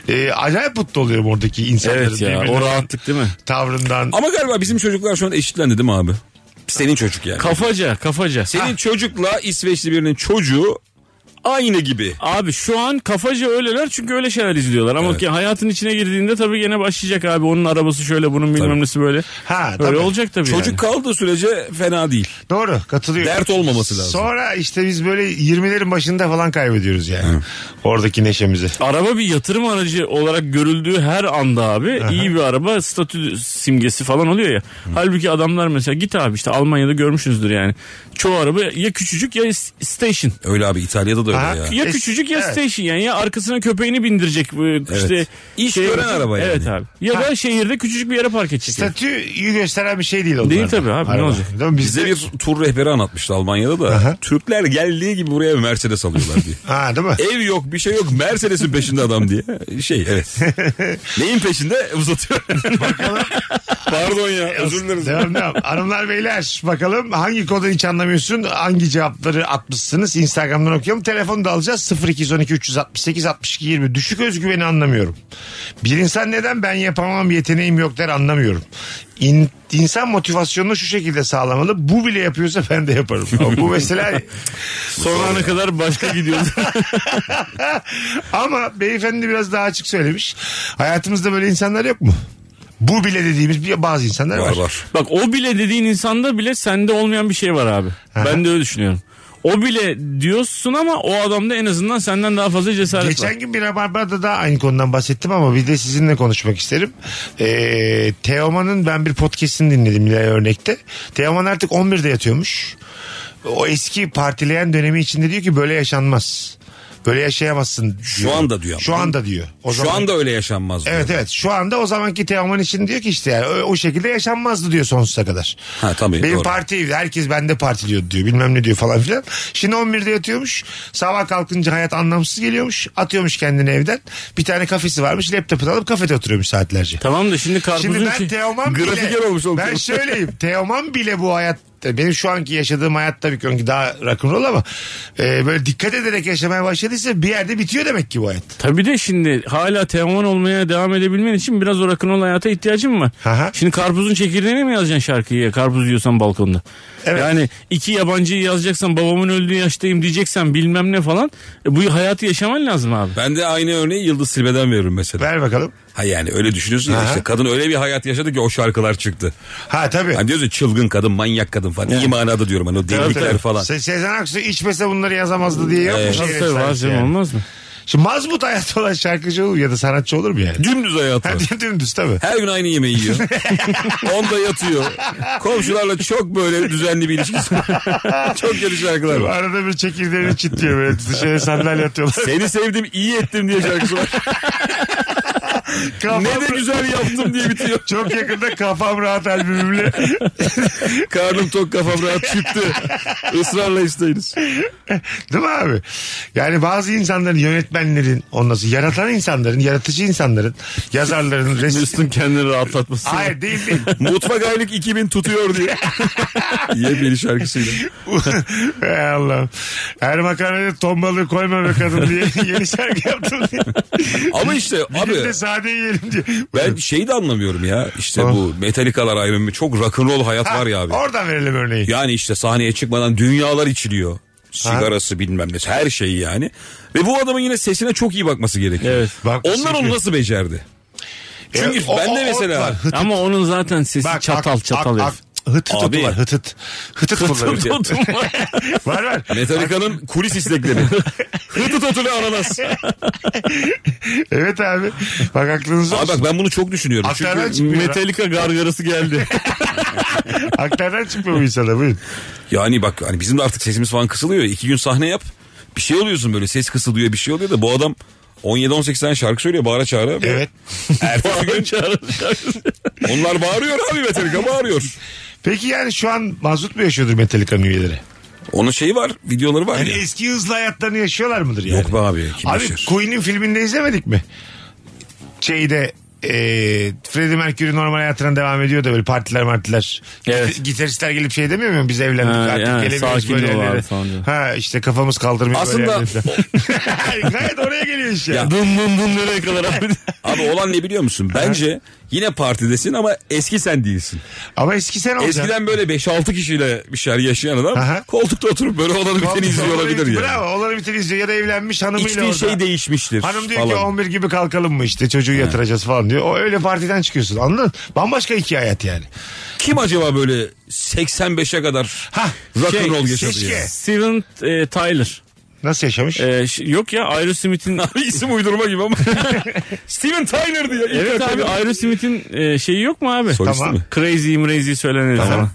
[SPEAKER 5] Ee, acayip mutlu oluyorum oradaki insanların
[SPEAKER 7] evet ya
[SPEAKER 5] birbirinin
[SPEAKER 7] o rahatlık değil mi?
[SPEAKER 5] tavrından.
[SPEAKER 6] Ama galiba bizim çocuklar şu an eşitlendi değil mi abi? Senin çocuk yani.
[SPEAKER 7] Kafaca kafaca.
[SPEAKER 6] Senin çocukla İsveçli birinin çocuğu aynı gibi.
[SPEAKER 7] Abi şu an kafaca öyleler çünkü öyle şeyler izliyorlar. Ama ki hayatın içine girdiğinde tabii gene başlayacak abi. Onun arabası şöyle bunun bilmem
[SPEAKER 6] Tabii.
[SPEAKER 7] nesi böyle.
[SPEAKER 5] Ha,
[SPEAKER 7] Öyle
[SPEAKER 5] tabii.
[SPEAKER 7] olacak tabii
[SPEAKER 6] Çocuk
[SPEAKER 7] yani.
[SPEAKER 6] kaldığı sürece fena değil.
[SPEAKER 5] Doğru katılıyorum.
[SPEAKER 6] Dert olmaması lazım.
[SPEAKER 5] Sonra işte biz böyle 20'lerin başında falan kaybediyoruz yani. Oradaki neşemizi.
[SPEAKER 7] Araba bir yatırım aracı olarak görüldüğü her anda abi iyi bir araba statü simgesi falan oluyor ya. Halbuki adamlar mesela git abi işte Almanya'da görmüşsünüzdür yani. Çoğu araba ya küçücük ya s- station.
[SPEAKER 6] Öyle abi İtalya'da da öyle
[SPEAKER 5] Aha.
[SPEAKER 6] ya.
[SPEAKER 7] Ya
[SPEAKER 5] Es-
[SPEAKER 7] küçücük ya
[SPEAKER 5] evet.
[SPEAKER 7] station yani ya arkasına köpeğini bindirecek bu işte şey-
[SPEAKER 6] İş gören araba yani.
[SPEAKER 7] Evet abi. Ya da şehirde küçücük bir yere park edecek.
[SPEAKER 5] Statüyü gösteren bir şey değil onlar.
[SPEAKER 7] Değil tabii abi, ne olacak?
[SPEAKER 5] Değil mi?
[SPEAKER 6] Bize
[SPEAKER 5] Bizde
[SPEAKER 6] bir tur rehberi anlatmıştı Almanya'da da. Türkler geldiği gibi buraya Mercedes alıyorlar diye.
[SPEAKER 5] Ha değil mi?
[SPEAKER 6] Ev yok bir şey yok Mercedes'in peşinde adam diye. Şey evet. Neyin peşinde uzatıyor. Pardon ya özür dileriz.
[SPEAKER 5] Devam devam. Hanımlar beyler bakalım hangi kodu hiç anlamıyorsun? Hangi cevapları atmışsınız? Instagram'dan okuyorum. Telefonu da alacağız. 0212 368 62 20. Düşük özgüveni anlamıyorum. Bir insan neden ben yapamam yeteneğim yok der anlamıyorum. İn, insan motivasyonunu şu şekilde sağlamalı. Bu bile yapıyorsa ben de yaparım. Ama bu mesela
[SPEAKER 7] Son ana kadar başka gidiyoruz.
[SPEAKER 5] ama beyefendi biraz daha açık söylemiş. Hayatımızda böyle insanlar yok mu? Bu bile dediğimiz bir- bazı insanlar var.
[SPEAKER 6] Var var.
[SPEAKER 7] Bak o bile dediğin insanda bile sende olmayan bir şey var abi. Ben de öyle düşünüyorum. O bile diyorsun ama o adamda en azından senden daha fazla cesaret var.
[SPEAKER 5] Geçen gün bir Rabarba'da da aynı konudan bahsettim ama bir de sizinle konuşmak isterim. Ee, Teoman'ın ben bir podcast'ini dinledim bir örnekte. Teoman artık 11'de yatıyormuş. O eski partileyen dönemi içinde diyor ki böyle yaşanmaz. Böyle yaşayamazsın. diyor.
[SPEAKER 6] anda diyor ama.
[SPEAKER 5] Şu anda diyor. O
[SPEAKER 6] Şu anda öyle yaşanmaz. diyor.
[SPEAKER 5] Evet evet şu anda o zamanki Teoman için diyor ki işte yani o, o şekilde yaşanmazdı diyor sonsuza kadar.
[SPEAKER 6] Ha, tabii,
[SPEAKER 5] Benim
[SPEAKER 6] doğru.
[SPEAKER 5] parti herkes bende partiliyordu diyor bilmem ne diyor falan filan. Şimdi 11'de yatıyormuş sabah kalkınca hayat anlamsız geliyormuş atıyormuş kendini evden. Bir tane kafesi varmış laptopunu alıp kafede oturuyormuş saatlerce.
[SPEAKER 7] Tamam da şimdi karpuzun
[SPEAKER 5] Şimdi ben
[SPEAKER 7] ki-
[SPEAKER 5] Teoman
[SPEAKER 6] grafiker
[SPEAKER 5] bile,
[SPEAKER 6] şey, olmuş oldum.
[SPEAKER 5] ben şey- şöyleyim Teoman bile bu hayat benim şu anki yaşadığım hayat tabii ki onunki daha rock'n'roll ama e, böyle dikkat ederek yaşamaya başladıysa bir yerde bitiyor demek ki bu hayat.
[SPEAKER 7] Tabii de şimdi hala Teoman olmaya devam edebilmen için biraz o rock'n'roll hayata ihtiyacın var.
[SPEAKER 5] Aha.
[SPEAKER 7] Şimdi karpuzun çekirdeğine mi yazacaksın şarkıyı ya? Karpuz yiyorsan balkonda.
[SPEAKER 5] Evet.
[SPEAKER 7] Yani iki yabancıyı yazacaksan babamın öldüğü yaştayım diyeceksen bilmem ne falan. E, bu hayatı yaşaman lazım abi.
[SPEAKER 6] Ben de aynı örneği Yıldız Silbe'den veririm mesela.
[SPEAKER 5] Ver bakalım.
[SPEAKER 6] Ha yani öyle düşünüyorsun ya
[SPEAKER 5] Aha.
[SPEAKER 6] işte kadın öyle bir hayat yaşadı ki o şarkılar çıktı.
[SPEAKER 5] Ha tabii.
[SPEAKER 6] Hani diyorsun ya, çılgın kadın, manyak kadın falan. İyi manada diyorum hani o delilikler
[SPEAKER 5] Tabii.
[SPEAKER 6] falan.
[SPEAKER 5] Se Sezen Aksu içmese bunları yazamazdı diye yapmış.
[SPEAKER 6] Evet.
[SPEAKER 5] herif
[SPEAKER 7] Tabii tabii var
[SPEAKER 5] sanki
[SPEAKER 7] canım,
[SPEAKER 5] şey yani.
[SPEAKER 7] olmaz mı?
[SPEAKER 5] Şimdi mazmut hayatı olan şarkıcı olur ya da sanatçı olur mu yani?
[SPEAKER 6] Dümdüz hayatı.
[SPEAKER 5] Hadi dümdüz tabii.
[SPEAKER 6] Her gün aynı yemeği yiyor. Onda yatıyor. Komşularla çok böyle düzenli bir ilişkisi var. çok kötü şarkılar var.
[SPEAKER 5] Arada bir çekirdeğini çitliyor böyle dışarı sandalye atıyorlar.
[SPEAKER 6] Seni sevdim iyi ettim diye şarkısı var.
[SPEAKER 5] Kafam-
[SPEAKER 6] ne de güzel yaptım diye bitiyor.
[SPEAKER 5] Çok yakında kafam rahat albümümle
[SPEAKER 6] Karnım tok kafam rahat çıktı. Israrla isteyiniz.
[SPEAKER 5] Değil mi abi? Yani bazı insanların yönetmenlerin onası yaratan insanların, yaratıcı insanların, yazarların resim...
[SPEAKER 7] Mesut'un kendini rahatlatması.
[SPEAKER 5] Hayır değil değil.
[SPEAKER 6] Mutfak aylık 2000 tutuyor diye. Ye beni şarkısıyla.
[SPEAKER 5] Ey Allah'ım. Her makarnaya ton balığı koyma be kadın diye yeni şarkı yaptım diye.
[SPEAKER 6] Ama işte
[SPEAKER 5] Bir
[SPEAKER 6] abi
[SPEAKER 5] de sade yiyelim diye.
[SPEAKER 6] ben şeyi de anlamıyorum ya. İşte
[SPEAKER 5] Ah.
[SPEAKER 6] bu Metallica'lar Iron Man çok rock'n'roll hayat var ya abi.
[SPEAKER 5] Oradan verelim örneği.
[SPEAKER 6] Yani işte sahneye çıkmadan dünyalar içiliyor. Sigarası bilmem ne her şeyi yani. Ve bu adamın yine sesine çok iyi bakması gerekiyor.
[SPEAKER 7] Evet.
[SPEAKER 5] Bakması
[SPEAKER 6] Onlar onu
[SPEAKER 5] gerekiyor.
[SPEAKER 6] nasıl becerdi? Çünkü
[SPEAKER 5] E, o-
[SPEAKER 6] ben de
[SPEAKER 5] o-
[SPEAKER 6] mesela-
[SPEAKER 5] ot var, hıt-
[SPEAKER 7] Ama onun zaten sesi
[SPEAKER 5] bak,
[SPEAKER 7] çatal
[SPEAKER 5] ak-
[SPEAKER 7] çatal.
[SPEAKER 5] ak-
[SPEAKER 7] herif.
[SPEAKER 5] ak- Hıtıt otu
[SPEAKER 6] Abi.
[SPEAKER 5] var hıtıt. Hıtıt kullanıyor. var var.
[SPEAKER 6] Metallica'nın kulis istekleri. Hıtı totulu ananas.
[SPEAKER 5] Evet abi. Bak aklınızda
[SPEAKER 6] Abi
[SPEAKER 5] olsun.
[SPEAKER 6] bak ben bunu çok düşünüyorum.
[SPEAKER 5] Aktardan
[SPEAKER 6] Çünkü
[SPEAKER 5] çıkmıyor.
[SPEAKER 7] Metallica gargarası geldi.
[SPEAKER 5] Aktardan çıkmıyor bu insana buyurun.
[SPEAKER 6] yani bak hani bizim de artık sesimiz falan kısılıyor. ya. İki gün sahne yap. Bir şey oluyorsun böyle ses kısılıyor bir şey oluyor da bu adam 17-18 tane şarkı söylüyor bağıra çağıra.
[SPEAKER 5] Evet.
[SPEAKER 6] Ertesi gün onlar bağırıyor abi Metallica bağırıyor.
[SPEAKER 5] Peki yani şu an mazut mu yaşıyordur Metallica'nın üyeleri?
[SPEAKER 6] Onun şeyi var videoları var
[SPEAKER 5] Hani
[SPEAKER 6] ya.
[SPEAKER 5] eski hızlı hayatlarını yaşıyorlar mıdır yani?
[SPEAKER 6] Yok be abi kim
[SPEAKER 5] Abi
[SPEAKER 6] yaşar?
[SPEAKER 5] Queen'in filminde izlemedik mi? Şeyde e, Freddie Mercury normal hayatına devam ediyor da böyle partiler martiler.
[SPEAKER 7] Evet.
[SPEAKER 5] Git- Gitaristler gelip şey demiyor mu? Biz evlendik
[SPEAKER 7] Ha,
[SPEAKER 5] artık
[SPEAKER 7] yani
[SPEAKER 5] gelemiyoruz
[SPEAKER 7] sakin
[SPEAKER 5] böyle
[SPEAKER 7] ol abi
[SPEAKER 5] yerlere.
[SPEAKER 7] falan diyor.
[SPEAKER 5] Ha işte kafamız kaldırmıyor böyle
[SPEAKER 6] Aslında-
[SPEAKER 5] yerlere falan. Gayet oraya geliyor iş ya.
[SPEAKER 6] Ya-
[SPEAKER 7] Bum bum bum nereye kadar abi?
[SPEAKER 6] Abi olan ne biliyor musun? Bence yine partidesin ama eski sen değilsin.
[SPEAKER 5] Ama eski sen olacaksın.
[SPEAKER 6] Eskiden böyle 5-6 kişiyle bir şeyler yaşayan adam
[SPEAKER 5] Aha.
[SPEAKER 6] koltukta oturup böyle olanı biteni izliyor olabilir yani.
[SPEAKER 5] Bravo olanı biteni izliyor ya da evlenmiş hanımıyla
[SPEAKER 6] İçtiği
[SPEAKER 5] orada.
[SPEAKER 6] şey değişmiştir
[SPEAKER 5] Hanım diyor
[SPEAKER 6] falan.
[SPEAKER 5] ki 11 gibi kalkalım mı işte çocuğu yatıracağız falan diyor. O öyle partiden çıkıyorsun anladın? Bambaşka iki hayat yani.
[SPEAKER 6] Kim acaba böyle 85'e kadar
[SPEAKER 5] Hah,
[SPEAKER 6] rock'n'roll
[SPEAKER 5] şey,
[SPEAKER 6] yaşadı
[SPEAKER 5] keşke.
[SPEAKER 6] ya?
[SPEAKER 7] Steven e, Tyler.
[SPEAKER 5] Nasıl yaşamış?
[SPEAKER 7] E, ş- yok ya Aerosmith'in
[SPEAKER 6] Abi isim uydurma gibi ama. Steven Tyler'dı ya. İlk
[SPEAKER 7] Evet abi
[SPEAKER 6] aklıma-
[SPEAKER 7] Aerosmith'in e, şeyi yok mu abi?
[SPEAKER 6] Solisti
[SPEAKER 5] Tamam.
[SPEAKER 6] mi?
[SPEAKER 7] Crazy Crazy söylenen herif
[SPEAKER 5] Tamam.
[SPEAKER 7] ama.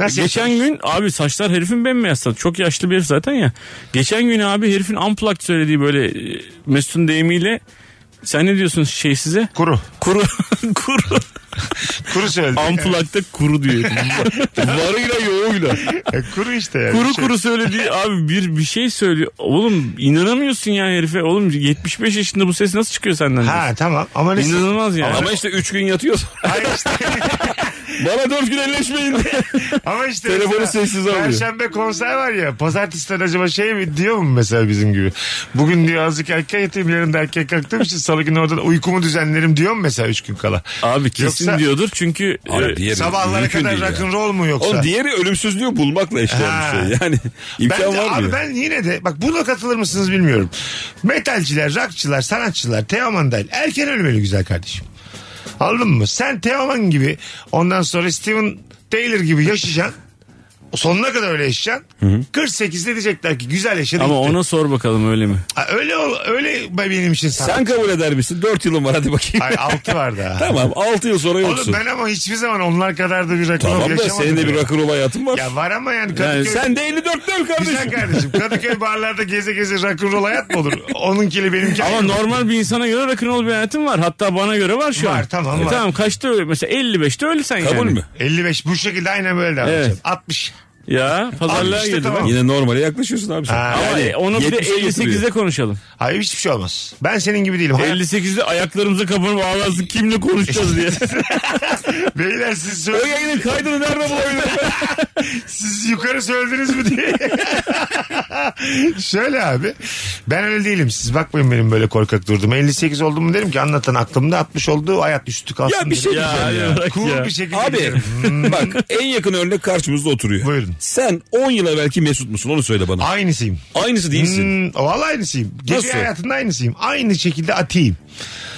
[SPEAKER 5] Nasıl
[SPEAKER 7] Geçen gün abi saçlar herifin bembeyaz tadı. Çok yaşlı bir herif zaten ya. Geçen gün abi herifin unplugged söylediği böyle e, Mesut'un deyimiyle sen ne diyorsun şey size?
[SPEAKER 5] Kuru.
[SPEAKER 7] Kuru. kuru.
[SPEAKER 5] Kuru söyledi.
[SPEAKER 7] Unplugged'da kuru diyor. Varıyla yoğuyla.
[SPEAKER 5] E, kuru işte yani.
[SPEAKER 7] Kuru
[SPEAKER 5] Şey-
[SPEAKER 7] kuru söylediği abi bir bir şey söylüyor. Oğlum inanamıyorsun ya herife. Oğlum 75 yaşında bu ses nasıl çıkıyor senden?
[SPEAKER 5] Ha tamam ama ne?
[SPEAKER 7] diyorsun. İnanılmaz yani.
[SPEAKER 6] Ama işte 3 gün yatıyor.
[SPEAKER 5] Hayır işte.
[SPEAKER 6] Bana 4 gün elleşmeyin.
[SPEAKER 5] ama işte.
[SPEAKER 6] Telefonu
[SPEAKER 5] mesela
[SPEAKER 6] sessize alıyor.
[SPEAKER 5] Perşembe konser var ya. Pazartesi'den acaba şey mi diyor mu mesela bizim gibi? Bugün diyor azıcık erken yatayım yarın da erken kalktığım için salı günü orada da uykumu düzenlerim diyor mu mesela 3 gün kala?
[SPEAKER 7] Abi kesin
[SPEAKER 5] Yoksa-
[SPEAKER 7] diyordur çünkü
[SPEAKER 6] Abi
[SPEAKER 7] e,
[SPEAKER 6] diğeri
[SPEAKER 5] Sabahlara
[SPEAKER 6] mümkün
[SPEAKER 5] kadar
[SPEAKER 6] değil ya.
[SPEAKER 5] rock'n'roll mu yoksa?
[SPEAKER 6] Oğlum diğeri ölümsüzlüğü bulmakla
[SPEAKER 5] Ha.
[SPEAKER 6] eşdeğer bir şey. Yani imkan
[SPEAKER 5] Bence
[SPEAKER 6] var
[SPEAKER 5] abi
[SPEAKER 6] mı?
[SPEAKER 5] ben yine de bak buna katılır mısınız bilmiyorum. Metalciler, rockçılar, sanatçılar, Teoman dahil erken ölmeli güzel kardeşim. Anladın mı? Sen Teoman gibi ondan sonra Steven Taylor gibi yaşayacaksın. Sonuna kadar öyle yaşayacaksın. 48'de diyecekler ki güzel yaşadın.
[SPEAKER 7] ama
[SPEAKER 5] gitti.
[SPEAKER 7] ona sor bakalım öyle mi?
[SPEAKER 5] Ha, öyle ol- öyle benim için sanat.
[SPEAKER 6] Sen kabul eder misin? 4 yılın var hadi bakayım.
[SPEAKER 5] Ay 6 var daha.
[SPEAKER 6] Tamam 6 yıl sonra
[SPEAKER 5] Oğlum
[SPEAKER 6] yoksun.
[SPEAKER 5] ben ama hiçbir zaman onlar kadar da bir rakam
[SPEAKER 6] Tamam da
[SPEAKER 5] yaşamadım.
[SPEAKER 6] senin de bir
[SPEAKER 5] ya.
[SPEAKER 6] rock'n'roll hayatın var.
[SPEAKER 5] Ya var ama yani
[SPEAKER 6] Yani
[SPEAKER 5] Kadıköy-
[SPEAKER 6] sen de 54 dön
[SPEAKER 5] Güzel
[SPEAKER 6] kardeşim.
[SPEAKER 5] kardeşim. Kadıköy barlarda geze geze rock'n'roll hayat mı olur? Onunkili benimki.
[SPEAKER 7] Ama
[SPEAKER 5] ayrı.
[SPEAKER 7] normal bir insana göre rock'n'roll bir hayatım var. Hatta bana göre var şu
[SPEAKER 5] Var,
[SPEAKER 7] an.
[SPEAKER 5] tamam,
[SPEAKER 7] E,
[SPEAKER 5] var.
[SPEAKER 7] Tamam kaçta öyle? Mesela 55'te ölürsen yani.
[SPEAKER 6] Kabul mü?
[SPEAKER 5] 55 bu şekilde aynen böyle devam
[SPEAKER 7] Evet.
[SPEAKER 5] edeceğim. 60.
[SPEAKER 7] Ya
[SPEAKER 5] Abi
[SPEAKER 7] pazarlığa
[SPEAKER 5] işte
[SPEAKER 7] girdi
[SPEAKER 5] tamam.
[SPEAKER 7] bak.
[SPEAKER 6] Yine normale yaklaşıyorsun abi sen.
[SPEAKER 5] Ha.
[SPEAKER 7] Ama e, onu bir de
[SPEAKER 6] 70'e
[SPEAKER 7] 58'de
[SPEAKER 6] götürüyor.
[SPEAKER 7] konuşalım.
[SPEAKER 5] Hayır hiçbir şey olmaz. Ben senin gibi değilim. Hayat-
[SPEAKER 7] 58'de ayaklarımıza kapanıp ağlasın kimle konuşacağız diye.
[SPEAKER 5] Beyler siz, sö-
[SPEAKER 7] o yayının kaydını nerede bulabilirim?
[SPEAKER 5] siz yukarı söylediniz mi diye. Şöyle abi. Ben öyle değilim. Siz bakmayın benim böyle korkak durdum. 58 oldum mu derim ki anlatan aklımda 60 oldu. Hayat üstü kalsın.
[SPEAKER 6] Ya bir şey
[SPEAKER 5] derim.
[SPEAKER 7] ya,
[SPEAKER 6] diyeceğim ya.
[SPEAKER 7] bırak
[SPEAKER 5] Cool
[SPEAKER 7] ya.
[SPEAKER 5] bir şekilde.
[SPEAKER 6] Abi
[SPEAKER 5] giderim.
[SPEAKER 6] bak en yakın örnek karşımızda oturuyor.
[SPEAKER 5] Hmm. Buyurun.
[SPEAKER 6] Sen 10 yıl evvelki Mesut musun onu söyle bana.
[SPEAKER 5] Aynısıyım.
[SPEAKER 6] Aynısı değilsin.
[SPEAKER 5] Hmm, vallahi aynısıyım. Gece
[SPEAKER 6] Nasıl?
[SPEAKER 5] hayatında aynısıyım. Aynı şekilde atayım.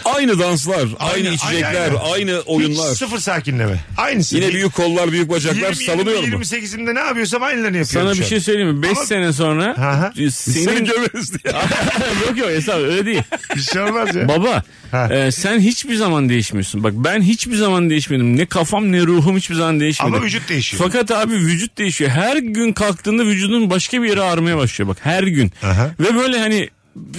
[SPEAKER 6] Aynı danslar, aynı,
[SPEAKER 5] Aynı-
[SPEAKER 6] içecekler,
[SPEAKER 5] aynı-
[SPEAKER 6] aynı, oyunlar.
[SPEAKER 5] Hiç sıfır sakinleme. Aynısı.
[SPEAKER 6] Yine büyük kollar, büyük bacaklar salınıyor mu?
[SPEAKER 5] 28'imde ne yapıyorsam aynılarını yapıyorum
[SPEAKER 7] Sana bir
[SPEAKER 5] şu an.
[SPEAKER 7] şey söyleyeyim mi? 5
[SPEAKER 5] Ama-
[SPEAKER 7] sene sonra
[SPEAKER 5] Aha.
[SPEAKER 6] Seni
[SPEAKER 7] senin...
[SPEAKER 6] gömeriz diye.
[SPEAKER 7] yok yok hesap öyle değil.
[SPEAKER 5] Bir şey olmaz ya.
[SPEAKER 7] Baba
[SPEAKER 5] Ha.
[SPEAKER 7] e, sen hiçbir zaman değişmiyorsun. Bak ben hiçbir zaman değişmedim. Ne kafam ne ruhum hiçbir zaman değişmedi.
[SPEAKER 5] Ama vücut değişiyor.
[SPEAKER 7] Fakat abi vücut değişiyor. Her gün kalktığında vücudun başka bir yere ağrımaya başlıyor bak her gün.
[SPEAKER 5] Aha.
[SPEAKER 7] Ve böyle hani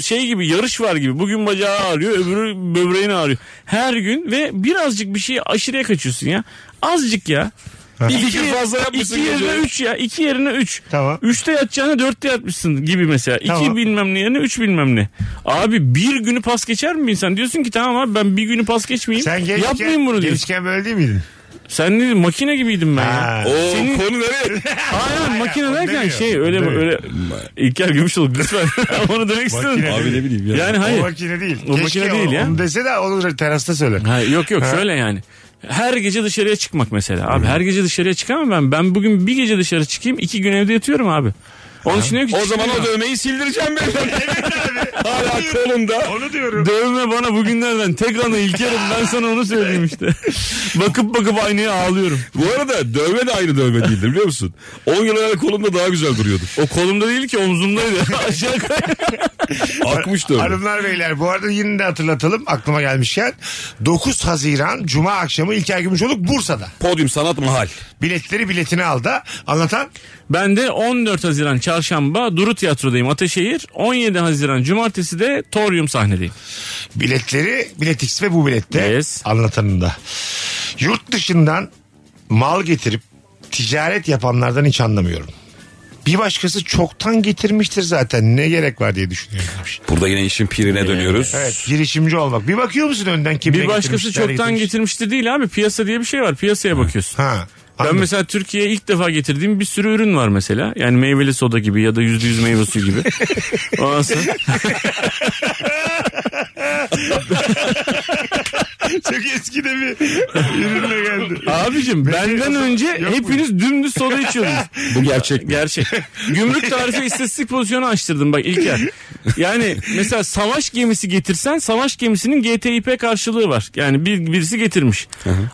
[SPEAKER 7] şey gibi yarış var gibi. Bugün bacağı ağrıyor öbürü böbreğini ağrıyor. Her gün ve birazcık bir şeyi aşırıya kaçıyorsun ya. Azıcık ya.
[SPEAKER 6] Bir kere fazla yapmışsın
[SPEAKER 7] İki yerine
[SPEAKER 6] gece.
[SPEAKER 7] üç ya. İki yerine üç.
[SPEAKER 5] Tamam.
[SPEAKER 7] Üçte yatacağına dörtte yatmışsın gibi mesela. İki
[SPEAKER 5] Tamam.
[SPEAKER 7] bilmem ne yerine üç bilmem ne. Abi bir günü pas geçer mi bir insan? Diyorsun ki tamam abi ben bir günü pas geçmeyeyim.
[SPEAKER 5] Sen gençken,
[SPEAKER 7] Yapmayayım bunu diyorsun.
[SPEAKER 5] gençken böyle değil miydin?
[SPEAKER 7] Sen ne makine gibiydim ben ya.
[SPEAKER 5] Ha.
[SPEAKER 6] O
[SPEAKER 7] Senin-
[SPEAKER 6] konu nereye?
[SPEAKER 7] Aynen makine
[SPEAKER 5] onu
[SPEAKER 7] derken
[SPEAKER 5] demiyor,
[SPEAKER 7] şey
[SPEAKER 5] onu
[SPEAKER 7] öyle
[SPEAKER 5] demiyor.
[SPEAKER 7] öyle İlker Gümüşoluk lütfen onu demek istedim.
[SPEAKER 5] Makine
[SPEAKER 6] Abi ne bileyim ya.
[SPEAKER 7] Yani
[SPEAKER 5] O
[SPEAKER 7] hayır.
[SPEAKER 5] makine değil.
[SPEAKER 7] O makine
[SPEAKER 5] o-
[SPEAKER 7] değil ya.
[SPEAKER 5] Onu dese de olur terasta söyle.
[SPEAKER 7] Ha, yok yok şöyle yani. Her gece dışarıya çıkmak mesela. Abi her gece dışarıya çıkamam ben. Ben bugün bir gece dışarı çıkayım iki gün evde yatıyorum abi. Onun için diyor ki
[SPEAKER 6] o zaman o
[SPEAKER 7] çıkmıyorum.
[SPEAKER 6] dövmeyi sildireceğim ben. Hala kolumda.
[SPEAKER 5] Onu diyorum.
[SPEAKER 7] Dövme bana bugünlerden tek ana İlker'im ben sana onu söyleyeyim işte. bakıp bakıp aynaya ağlıyorum.
[SPEAKER 6] Bu arada dövme de aynı dövme değildir biliyor musun? 10 yıl evvel kolumda daha güzel duruyordu.
[SPEAKER 7] O kolumda değil ki omzumdaydı. Aşağı kay-
[SPEAKER 6] Akmış dövme.
[SPEAKER 5] Hanımlar beyler bu arada yine de hatırlatalım aklıma gelmişken 9 Haziran Cuma akşamı İlker Gümüşoluk Bursa'da.
[SPEAKER 6] Podyum sanat mahal.
[SPEAKER 5] Biletleri biletini aldı. Anlatan
[SPEAKER 7] Ben de 14 Haziran çarşamba Duru Tiyatro'dayım Ataşehir. 17 Haziran cumartesi de Torium sahnedeyim.
[SPEAKER 5] biletleri biletix ve bu bilette
[SPEAKER 7] Yes.
[SPEAKER 5] anlatanında. Yurt dışından mal getirip ticaret yapanlardan hiç anlamıyorum. Bir başkası çoktan getirmiştir zaten ne gerek var diye düşünüyorum. demiş.
[SPEAKER 6] Burada yine işin pirine dönüyoruz.
[SPEAKER 5] Evet girişimci olmak. Bir bakıyor musun önden kim
[SPEAKER 7] Bir
[SPEAKER 5] ne
[SPEAKER 7] başkası
[SPEAKER 5] getirmiş, nerede
[SPEAKER 7] çoktan
[SPEAKER 5] getirmiş?
[SPEAKER 7] getirmiştir değil abi. Piyasa diye bir şey var. Piyasaya bakıyorsun.
[SPEAKER 5] Ha.
[SPEAKER 7] Ben
[SPEAKER 5] anladım.
[SPEAKER 7] mesela Türkiye'ye ilk defa getirdiğim bir sürü ürün var mesela. Yani meyveli soda gibi ya da yüzde yüz meyve suyu gibi. Ondan sonra-
[SPEAKER 5] Çok eskide bir ürünle geldi.
[SPEAKER 7] Abicim benden önce hepiniz dümdüz soda içiyordunuz.
[SPEAKER 6] Bu gerçek.
[SPEAKER 7] Gerçek. Gümrük tarife istatistik pozisyonu açtırdım bak İlker. Yani mesela savaş gemisi getirsen savaş gemisinin GTIP karşılığı var. Yani bir, birisi getirmiş.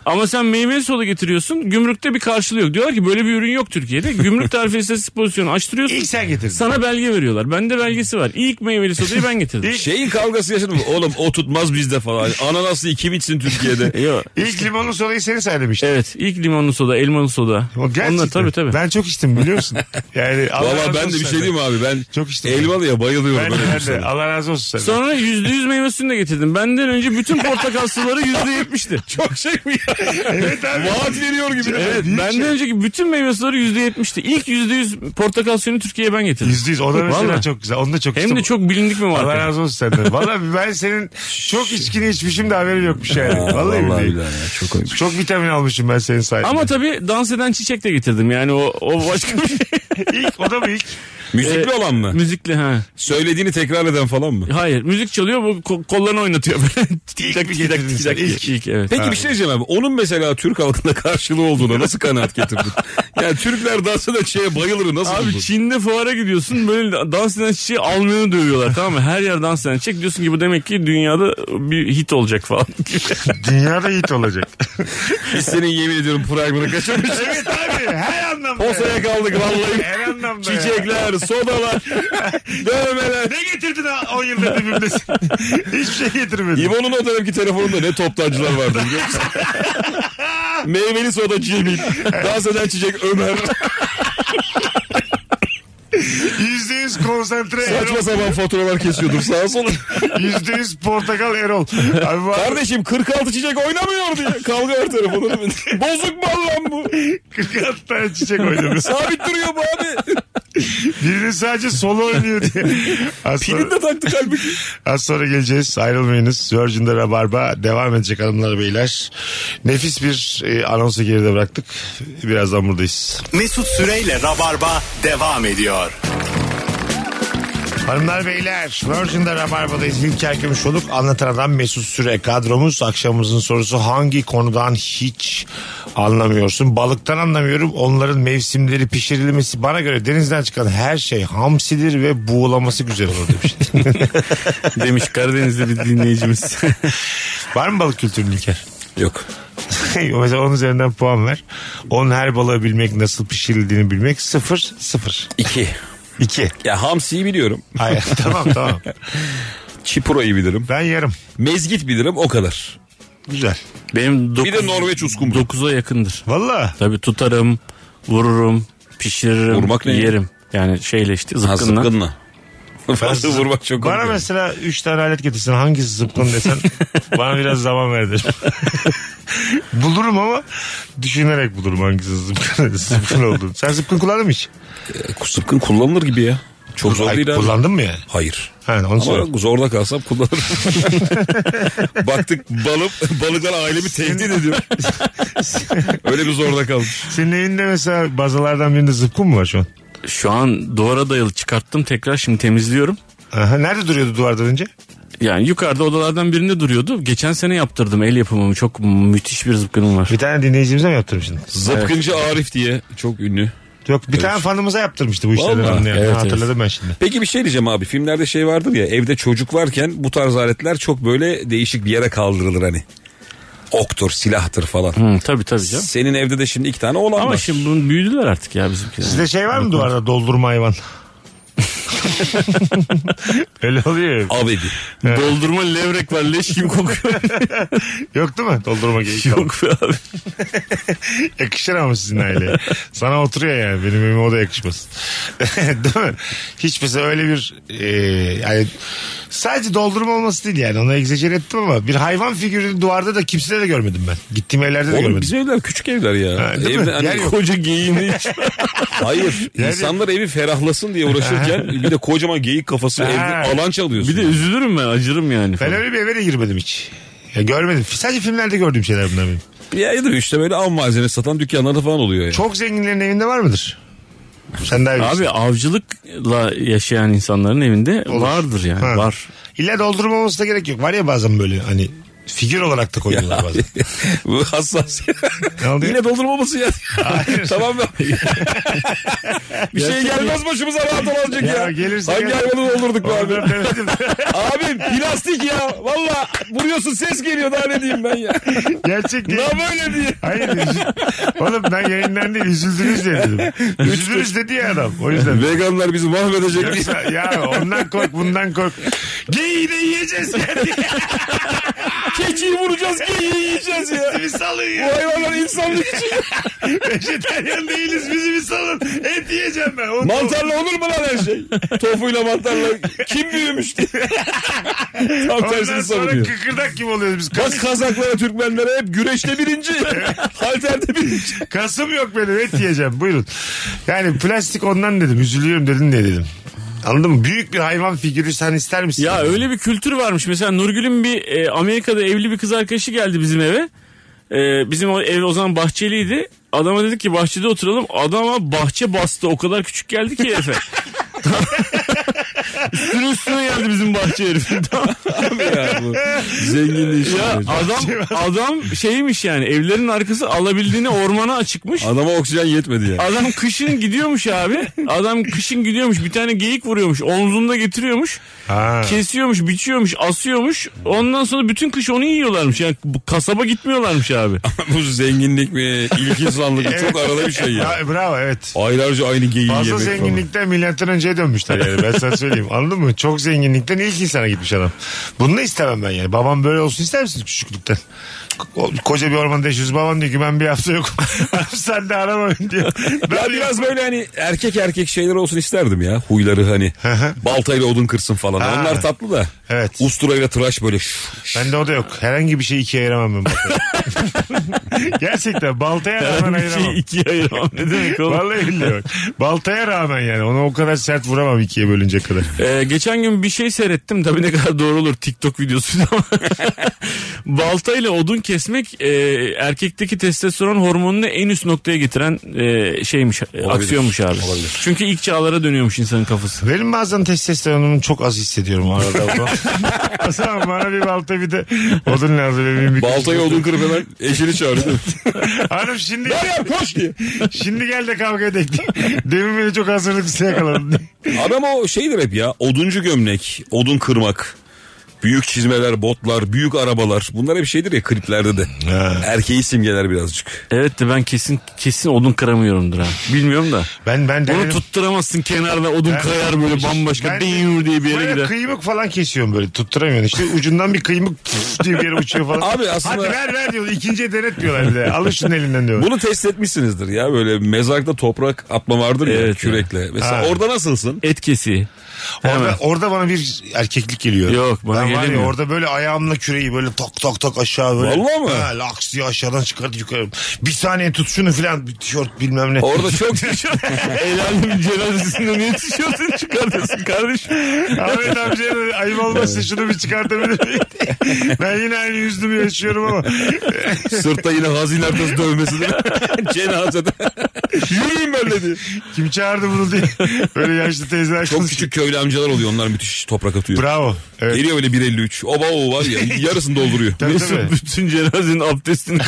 [SPEAKER 7] Ama sen meyve soda getiriyorsun gümrükte bir karşılığı yok. Diyorlar ki böyle bir ürün yok Türkiye'de. Gümrük tarife istatistik pozisyonu açtırıyorsun.
[SPEAKER 5] İlk sen getirdin.
[SPEAKER 7] Sana belge veriyorlar. Bende belgesi var. İlk meyveli sodayı ben getirdim.
[SPEAKER 6] Şeyin kavgası yaşadım. Oğlum o tutmaz bizde falan. Ananaslı kim içsin Türkiye'de?
[SPEAKER 7] Yok.
[SPEAKER 5] İlk limonlu sodayı seni söylemiştin.
[SPEAKER 7] Evet ilk limonlu soda, elmalı soda.
[SPEAKER 5] O gerçekten.
[SPEAKER 7] Onlar tabii tabii.
[SPEAKER 5] Ben çok içtim biliyor musun? Yani Allah razı
[SPEAKER 6] Valla ben de
[SPEAKER 5] olsun
[SPEAKER 6] bir şey
[SPEAKER 5] senden.
[SPEAKER 6] diyeyim mi abi. Ben
[SPEAKER 5] Çok içtim.
[SPEAKER 6] Elmalı'ya bayılıyorum.
[SPEAKER 5] Ben de,
[SPEAKER 6] öyle bir
[SPEAKER 5] ben
[SPEAKER 6] şey.
[SPEAKER 5] de. Allah razı olsun senden.
[SPEAKER 7] Sonra yüzde yüz meyve suyunu da getirdim. Benden önce bütün portakal suları yüzde yetmişti. Çok şey mi ya?
[SPEAKER 5] Evet abi.
[SPEAKER 6] Vaat veriyor gibi.
[SPEAKER 7] Evet,
[SPEAKER 5] büyük
[SPEAKER 7] benden
[SPEAKER 5] şey.
[SPEAKER 7] önceki bütün meyve suları yüzde yetmişti. İlk yüzde yüz portakal suyunu Türkiye'ye ben getirdim.
[SPEAKER 5] Yüzde yüz. O da mesela
[SPEAKER 7] Vallahi.
[SPEAKER 5] çok güzel. Onu da çok
[SPEAKER 7] Hem
[SPEAKER 5] içtim.
[SPEAKER 7] de çok bilindik mi
[SPEAKER 5] Allah
[SPEAKER 7] var?
[SPEAKER 5] razı olsun senden. Valla ben senin çok içkini içmişim de haberim yokmuş yani. Vallahi,
[SPEAKER 6] Vallahi
[SPEAKER 5] billahi.
[SPEAKER 6] billahi ya, çok komik.
[SPEAKER 5] Çok vitamin almışım ben senin sayende.
[SPEAKER 7] Ama tabii dans eden çiçek de getirdim. Yani o, o başka bir şey.
[SPEAKER 5] ilk o da mı ilk?
[SPEAKER 6] Müzikli olan mı?
[SPEAKER 7] Müzikli ha.
[SPEAKER 6] Söylediğini tekrar eden falan mı?
[SPEAKER 7] Hayır müzik çalıyor bu ko- kollarını oynatıyor.
[SPEAKER 5] İlk
[SPEAKER 7] tak,
[SPEAKER 5] mi
[SPEAKER 7] tak,
[SPEAKER 5] getirdin
[SPEAKER 7] tak,
[SPEAKER 5] sen?
[SPEAKER 7] tak.
[SPEAKER 5] İlk.
[SPEAKER 7] İlk evet.
[SPEAKER 6] Peki bir şey diyeceğim abi. Onun mesela Türk halkında karşılığı olduğuna nasıl kanaat getirdin? yani Türkler dansa da şeye bayılır nasıl
[SPEAKER 7] Abi
[SPEAKER 6] buldun?
[SPEAKER 7] Çin'de fuara gidiyorsun böyle dans eden çiçeği almayanı dövüyorlar tamam mı? Her yer dans eden çiçek diyorsun ki bu demek ki dünyada bir hit olacak falan.
[SPEAKER 5] Dünyada hit olacak.
[SPEAKER 6] Biz senin yemin ediyorum programını kaçırmışız.
[SPEAKER 5] evet abi her anlamda.
[SPEAKER 6] Posaya kaldık vallahi.
[SPEAKER 5] Her anlamda ya.
[SPEAKER 6] Çiçekler, sodalar, dövmeler.
[SPEAKER 5] Ne getirdin ha 10 yıldır dibimdesin? Hiçbir şey getirmedin.
[SPEAKER 6] İbo'nun o dönemki telefonunda ne toptancılar vardı biliyor musun? Meyveli soda Cemil. Dans eden çiçek Ömer.
[SPEAKER 5] Yüzde yüz konsantre Erol.
[SPEAKER 6] Saçma sapan faturalar kesiyordum sağa sola.
[SPEAKER 5] Yüzde yüz portakal Erol. Abi bu
[SPEAKER 6] Kardeşim 46 çiçek oynamıyor diye. Kavga her telefonu. Bozuk mal lan bu.
[SPEAKER 5] 46 tane çiçek oynadı.
[SPEAKER 6] Sabit duruyor bu abi.
[SPEAKER 5] Birini sadece solo oynuyor diye. Az
[SPEAKER 6] Pilini
[SPEAKER 5] sonra,
[SPEAKER 6] de taktı kalbi.
[SPEAKER 5] az sonra geleceğiz. Ayrılmayınız. Virgin'de Rabarba devam edecek hanımlar beyler. Nefis bir e, anonsu geride bıraktık. Birazdan buradayız.
[SPEAKER 4] Mesut Süreyle Rabarba devam ediyor.
[SPEAKER 5] Hanımlar beyler Virgin'de Rabarba'dayız. İlker Gümüşoluk anlatan adam Mesut Süre kadromuz. Akşamımızın sorusu hangi konudan hiç anlamıyorsun? Balıktan anlamıyorum. Onların mevsimleri pişirilmesi bana göre denizden çıkan her şey hamsidir ve buğulaması güzel olur demiş.
[SPEAKER 7] Demiş Karadeniz'de bir dinleyicimiz.
[SPEAKER 5] Var mı balık kültürünün İlker?
[SPEAKER 6] Yok.
[SPEAKER 5] Mesela onun üzerinden puan ver. Onun her balığı bilmek, nasıl pişirildiğini bilmek sıfır, sıfır.
[SPEAKER 6] İki.
[SPEAKER 5] İki.
[SPEAKER 6] Ya hamsiyi biliyorum.
[SPEAKER 5] Hayır, tamam tamam.
[SPEAKER 6] Çipura'yı bilirim.
[SPEAKER 5] Ben yarım.
[SPEAKER 6] Mezgit bilirim o kadar.
[SPEAKER 5] Güzel.
[SPEAKER 7] Benim dokuz,
[SPEAKER 6] Bir de Norveç uskumru.
[SPEAKER 7] 9'a yakındır.
[SPEAKER 5] Valla.
[SPEAKER 7] Tabii tutarım, vururum, pişiririm,
[SPEAKER 6] Vurmak ne ya?
[SPEAKER 7] yerim. Yani şeyle işte zıpkınla.
[SPEAKER 6] Zıpkınla. fazla vurmak çok
[SPEAKER 5] Bana
[SPEAKER 6] korkuyorum.
[SPEAKER 5] mesela 3 tane alet getirsin hangisi zıpkın desen bana biraz zaman ver derim. bulurum ama düşünerek bulurum hangisi zıpkın, zıpkın olduğunu. Sen zıpkın kullandın mı hiç?
[SPEAKER 6] Sıpkın kullanılır gibi ya. Çok zor
[SPEAKER 5] Ay,
[SPEAKER 6] değil abi.
[SPEAKER 5] kullandın mı yani?
[SPEAKER 6] Hayır.
[SPEAKER 5] Ha, onu soruyorum.
[SPEAKER 6] Ama zorda kalsam kullanırım. Baktık balım, balıklar ailemi tehdit ediyor. Öyle bir zorda kalmış.
[SPEAKER 5] Senin evinde mesela bazalardan birinde zıpkın mı var şu an?
[SPEAKER 7] Şu an duvara dayalı çıkarttım tekrar şimdi temizliyorum.
[SPEAKER 5] Aha, nerede duruyordu duvardan önce?
[SPEAKER 7] Yani yukarıda odalardan birinde duruyordu. Geçen sene yaptırdım el yapımımı. Çok müthiş bir zıpkınım var.
[SPEAKER 5] Bir tane dinleyicimize mi yaptırmıştın?
[SPEAKER 6] Zıpkıncı Arif diye çok ünlü.
[SPEAKER 5] Yok bir tane fanımıza yaptırmıştı bu işleri.
[SPEAKER 6] Vallahi.
[SPEAKER 5] anlayan. Ha,
[SPEAKER 7] Evet,
[SPEAKER 5] hatırladım ben şimdi.
[SPEAKER 6] Peki bir şey diyeceğim abi. Filmlerde şey vardır ya evde çocuk varken bu tarz aletler çok böyle değişik bir yere kaldırılır hani. Oktur, silahtır falan.
[SPEAKER 7] Hı, tabii tabii canım.
[SPEAKER 6] Senin evde de şimdi iki tane oğlan
[SPEAKER 7] Ama
[SPEAKER 6] var.
[SPEAKER 7] şimdi bunun büyüdüler artık ya bizimkiler.
[SPEAKER 5] Sizde şey var mı duvarda doldurma hayvan? Öyle oluyor. ya.
[SPEAKER 6] Av evi.
[SPEAKER 7] Doldurma levrek var leş gibi kokuyor.
[SPEAKER 5] Yok değil mi? Doldurma gereği kalmadı.
[SPEAKER 7] Yok be abi.
[SPEAKER 5] Yakışır ama sizin aileye. Sana oturuyor yani. Benim evime o da yakışmaz. değil mi? Hiç mesela öyle bir e, yani sadece doldurma olması değil yani. Onu egzecer ettim ama bir hayvan figürünü duvarda da kimsede de görmedim ben. Gittiğim evlerde de
[SPEAKER 6] Oğlum
[SPEAKER 5] görmedim.
[SPEAKER 6] bizim evler küçük evler ya.
[SPEAKER 5] Ha, değil mi?
[SPEAKER 6] Evde hani
[SPEAKER 5] Yer yok.
[SPEAKER 6] koca geyiğini Hayır.
[SPEAKER 5] Yani-
[SPEAKER 6] insanlar evi ferahlasın diye uğraşırken bir de kocaman geyik kafası
[SPEAKER 5] Ha.
[SPEAKER 6] evde alan çalıyorsun.
[SPEAKER 7] Bir de üzülürüm ben acırım yani.
[SPEAKER 5] Ben
[SPEAKER 7] falan.
[SPEAKER 5] öyle bir eve de girmedim hiç. Ya görmedim. Sadece filmlerde gördüğüm şeyler bunlar benim.
[SPEAKER 6] Ya ya da işte böyle av malzemesi satan dükkanlarda falan oluyor ya.
[SPEAKER 5] Çok zenginlerin evinde var mıdır? Sen daha iyi bilirsin.
[SPEAKER 7] Abi avcılıkla yaşayan insanların evinde vardır yani
[SPEAKER 5] Ha.
[SPEAKER 7] var.
[SPEAKER 5] İlla doldurmaması da gerek yok. Var ya bazen böyle hani figür olarak da koyuyorlar bazen.
[SPEAKER 6] Bu hassas.
[SPEAKER 5] Ne oldu ya?
[SPEAKER 6] Yine doldurmaması ya. tamam mı? bir şey gelmez başımıza rahat ol azıcık
[SPEAKER 5] Ya
[SPEAKER 6] ya.
[SPEAKER 5] gelirse
[SPEAKER 6] Hangi
[SPEAKER 5] gelmez.
[SPEAKER 6] hayvanı doldurduk be abi?
[SPEAKER 5] Oradan demedim.
[SPEAKER 6] Abim plastik ya. Valla vuruyorsun ses geliyor daha ne diyeyim ben ya.
[SPEAKER 5] Gerçek değil.
[SPEAKER 6] Ne böyle diye.
[SPEAKER 5] Hayır. üzü- Oğlum ben yayından değil üzüldünüz diye dedim. Üzüldünüz dedi ya adam. O yüzden.
[SPEAKER 6] Veganlar bizi mahvedecek diye.
[SPEAKER 5] Yoksa ya ondan kork bundan kork. Geyiği de yiyeceğiz ya diye.
[SPEAKER 6] Keçiyi vuracağız geyiği yiyeceğiz ya.
[SPEAKER 5] Bizi bir salın
[SPEAKER 6] Bu
[SPEAKER 5] ya.
[SPEAKER 6] hayvanlar insanlık için.
[SPEAKER 5] Vejeteryan değiliz bizi bir salın. Et yiyeceğim ben. O-
[SPEAKER 6] Mantarla olur mu lan her şey? Tofuyla mantarla kim büyümüş diye. Tam
[SPEAKER 5] Ondan sonra
[SPEAKER 6] tersini savunuyor.
[SPEAKER 5] kıkırdak gibi oluyoruz biz.
[SPEAKER 6] Bak Kazaklara, Türkmenlere hep güreşte birinci. Halterde birinci.
[SPEAKER 5] Kasım yok benim et yiyeceğim buyurun. Yani plastik ondan dedim üzülüyorum dedin diye dedim. Anladın mı? Büyük bir hayvan figürü sen ister misin?
[SPEAKER 7] Ya öyle bir kültür varmış. Mesela Nurgül'ün bir e, Amerika'da evli bir kız arkadaşı geldi bizim eve. E, bizim o ev o zaman bahçeliydi. Adama dedik ki bahçede oturalım. Adama bahçe bastı. O kadar küçük geldi ki herife. üstüne üstüne geldi bizim bahçe herifin. Tamam.
[SPEAKER 6] ya bu zenginliği
[SPEAKER 7] ya adam adam şeymiş yani evlerin arkası alabildiğine ormana açıkmış.
[SPEAKER 6] Adama oksijen yetmedi ya.
[SPEAKER 7] Adam kışın gidiyormuş abi. Adam kışın gidiyormuş. Bir tane geyik vuruyormuş. Omzunda getiriyormuş.
[SPEAKER 5] Ha.
[SPEAKER 7] Kesiyormuş, biçiyormuş, asıyormuş. Ondan sonra bütün kış onu yiyorlarmış. Yani bu kasaba gitmiyorlarmış abi.
[SPEAKER 6] bu zenginlik mi, ilk insanlık mı? Çok arada bir şey ya.
[SPEAKER 5] Ya, e, bravo evet.
[SPEAKER 6] Aylarca aynı geyiği yemek
[SPEAKER 5] Fazla
[SPEAKER 6] falan.
[SPEAKER 5] zenginlikten milyattan önceye dönmüşler yani ben sana söyleyeyim anladın mı? Çok zenginlikten ilk insana gitmiş adam. Bunu da istemem ben yani. Babam böyle olsun ister misin küçüklükten? Ko- koca bir ormanda yaşıyoruz babam diyor ki ben bir hafta yokum. sen de arama beni diyor.
[SPEAKER 6] Ben biraz böyle hani erkek erkek şeyler olsun isterdim ya. Huyları hani. Baltayla odun kırsın falan.
[SPEAKER 5] Ha.
[SPEAKER 6] Onlar tatlı da.
[SPEAKER 5] Evet.
[SPEAKER 6] Usturayla tıraş böyle. şş, şş.
[SPEAKER 5] Ben de o da yok. Herhangi bir şey ikiye ayıramam ben. bakarım. Gerçekten baltaya rağmen
[SPEAKER 7] Bir
[SPEAKER 5] ayıramam.
[SPEAKER 7] şey ikiye ayıramam. Ne demek oğlum?
[SPEAKER 5] Vallahi billahi bak. Baltaya rağmen yani onu o kadar sert vuramam ikiye bölünce kadar.
[SPEAKER 7] Ee, geçen gün bir şey seyrettim. Tabii ne kadar doğru olur TikTok videosu ama. Baltayla odun kesmek e, erkekteki testosteron hormonunu en üst noktaya getiren e, şeymiş, aksiyonmuş abi.
[SPEAKER 6] Olabilir.
[SPEAKER 7] Çünkü ilk çağlara dönüyormuş insanın kafası.
[SPEAKER 5] Benim bazen testosteronumu çok az hissediyorum arada. o zaman bana bir balta bir de odun lazım. Benim bir
[SPEAKER 6] Baltayla odun kırıp hemen eşini çağırdı.
[SPEAKER 5] Hanım şimdi
[SPEAKER 6] Meryem koş diye.
[SPEAKER 5] şimdi gel de kavga edelim. Demin beni çok hazırlıksız yakaladın.
[SPEAKER 6] Adam o şeydir hep ya. Oduncu gömlek, odun kırmak. Büyük çizmeler, botlar, büyük arabalar. Bunlar hep şeydir ya kliplerde de. Erkeği simgeler birazcık.
[SPEAKER 7] Evet de ben kesin kesin odun kıramıyorumdur ha. Bilmiyorum da.
[SPEAKER 5] Ben ben
[SPEAKER 7] Onu
[SPEAKER 5] denedim.
[SPEAKER 7] tutturamazsın kenarda odun kayar böyle bambaşka
[SPEAKER 5] Ben-
[SPEAKER 7] deyur diye bir yere
[SPEAKER 5] Böyle
[SPEAKER 7] gider.
[SPEAKER 5] kıymık falan kesiyorum böyle tutturamıyorsun. İşte ucundan bir kıymık püf diye bir yere uçuyor falan.
[SPEAKER 6] Abi aslında-
[SPEAKER 5] Hadi ver ver diyor. İkinciye denetmiyorlar bile. Alın şunun elinden diyor.
[SPEAKER 6] Bunu test etmişsinizdir ya böyle mezarda toprak atma vardır ya
[SPEAKER 7] Evet ya.
[SPEAKER 6] kürekle. Mesela
[SPEAKER 5] Ha.
[SPEAKER 6] orada nasılsın?
[SPEAKER 7] Et kesiği.
[SPEAKER 5] Orada, orada bana bir erkeklik geliyor.
[SPEAKER 7] Yok, bana
[SPEAKER 5] ben var ya,
[SPEAKER 7] gelemiyor.
[SPEAKER 5] orada böyle ayağımla küreği böyle tok tok tok aşağı böyle.
[SPEAKER 6] Vallahi mi?
[SPEAKER 5] Ha, laks diye aşağıdan çıkartıp yukarı. Bir saniye tut şunu filan bir tişört bilmem ne.
[SPEAKER 6] Orada çok
[SPEAKER 7] Helalimin cenazesinde niye tişörtünü çıkartıyorsun kardeşim?
[SPEAKER 5] Ahmet amcaya da ayıp olmasın şunu bir çıkartabilir miyim? ben yine aynı yüzlümü yaşıyorum ama.
[SPEAKER 6] sırtta yine hazin haritası dövmesidir. Cenazede. Yürüyün ben de diye.
[SPEAKER 5] Kim çağırdı bunu diye. Böyle yaşlı teyzeler
[SPEAKER 6] Çok
[SPEAKER 5] konuşuyor.
[SPEAKER 6] küçük köylü amcalar oluyor onlar müthiş toprak atıyor.
[SPEAKER 5] Bravo. Evet.
[SPEAKER 6] Geliyor böyle 1.53. Oba o var ya yarısını dolduruyor.
[SPEAKER 5] Tabii, tabii.
[SPEAKER 7] Mesut bütün cenazenin abdestini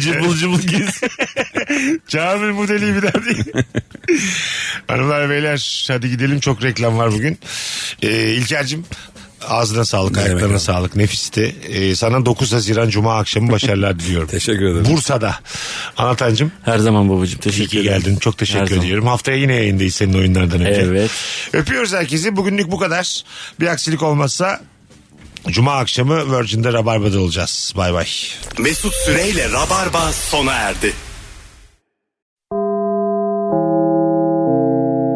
[SPEAKER 7] cıbıl cıbıl gez.
[SPEAKER 5] Kamil bu deliği bir daha değil. Hanımlar beyler hadi gidelim çok reklam var bugün. Ee, İlker'cim ağzına sağlık
[SPEAKER 6] Ne demek
[SPEAKER 5] ayaklarına
[SPEAKER 6] abi.
[SPEAKER 5] sağlık nefisti. Ee, sana 9 Haziran Cuma akşamı başarılar diliyorum.
[SPEAKER 6] Teşekkür ederim.
[SPEAKER 5] Bursa'da. Anlatancım
[SPEAKER 7] Her zaman babacığım
[SPEAKER 5] iyi
[SPEAKER 7] teşekkür
[SPEAKER 5] ki
[SPEAKER 7] ederim.
[SPEAKER 5] geldin. Çok
[SPEAKER 7] Her
[SPEAKER 5] teşekkür
[SPEAKER 7] zaman.
[SPEAKER 5] ediyorum. Haftaya yine yayındayız senin oyunlardan önce.
[SPEAKER 7] Evet.
[SPEAKER 5] Öpüyoruz herkesi. Bugünlük bu kadar. Bir aksilik olmazsa Cuma akşamı Virgin'de Rabarba'da olacağız. Bay bay.
[SPEAKER 4] Mesut Süreyle Rabarba sona erdi.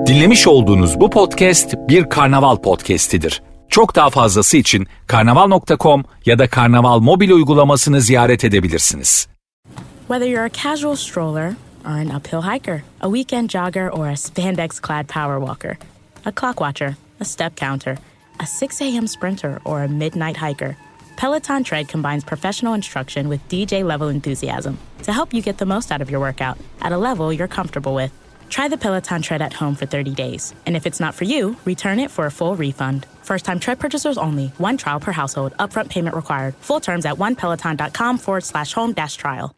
[SPEAKER 10] Dinlemiş olduğunuz bu podcast bir karnaval podcastidir. Çok daha fazlası için karnaval.com ya da karnaval mobil uygulamasını ziyaret edebilirsiniz.
[SPEAKER 1] Whether you're a casual stroller or an uphill hiker, a weekend jogger or a spandex clad power walker, a clock watcher, a step counter, a 6 a.m. sprinter, or a midnight hiker, Peloton Tread combines professional instruction with DJ level enthusiasm to help you get the most out of your workout at a level you're comfortable with. Try the Peloton Tread at home for 30 days, and if it's not for you, return it for a full refund. First time tread purchasers only, one trial per household, upfront payment required. Full terms at onepeloton.com forward slash home dash trial.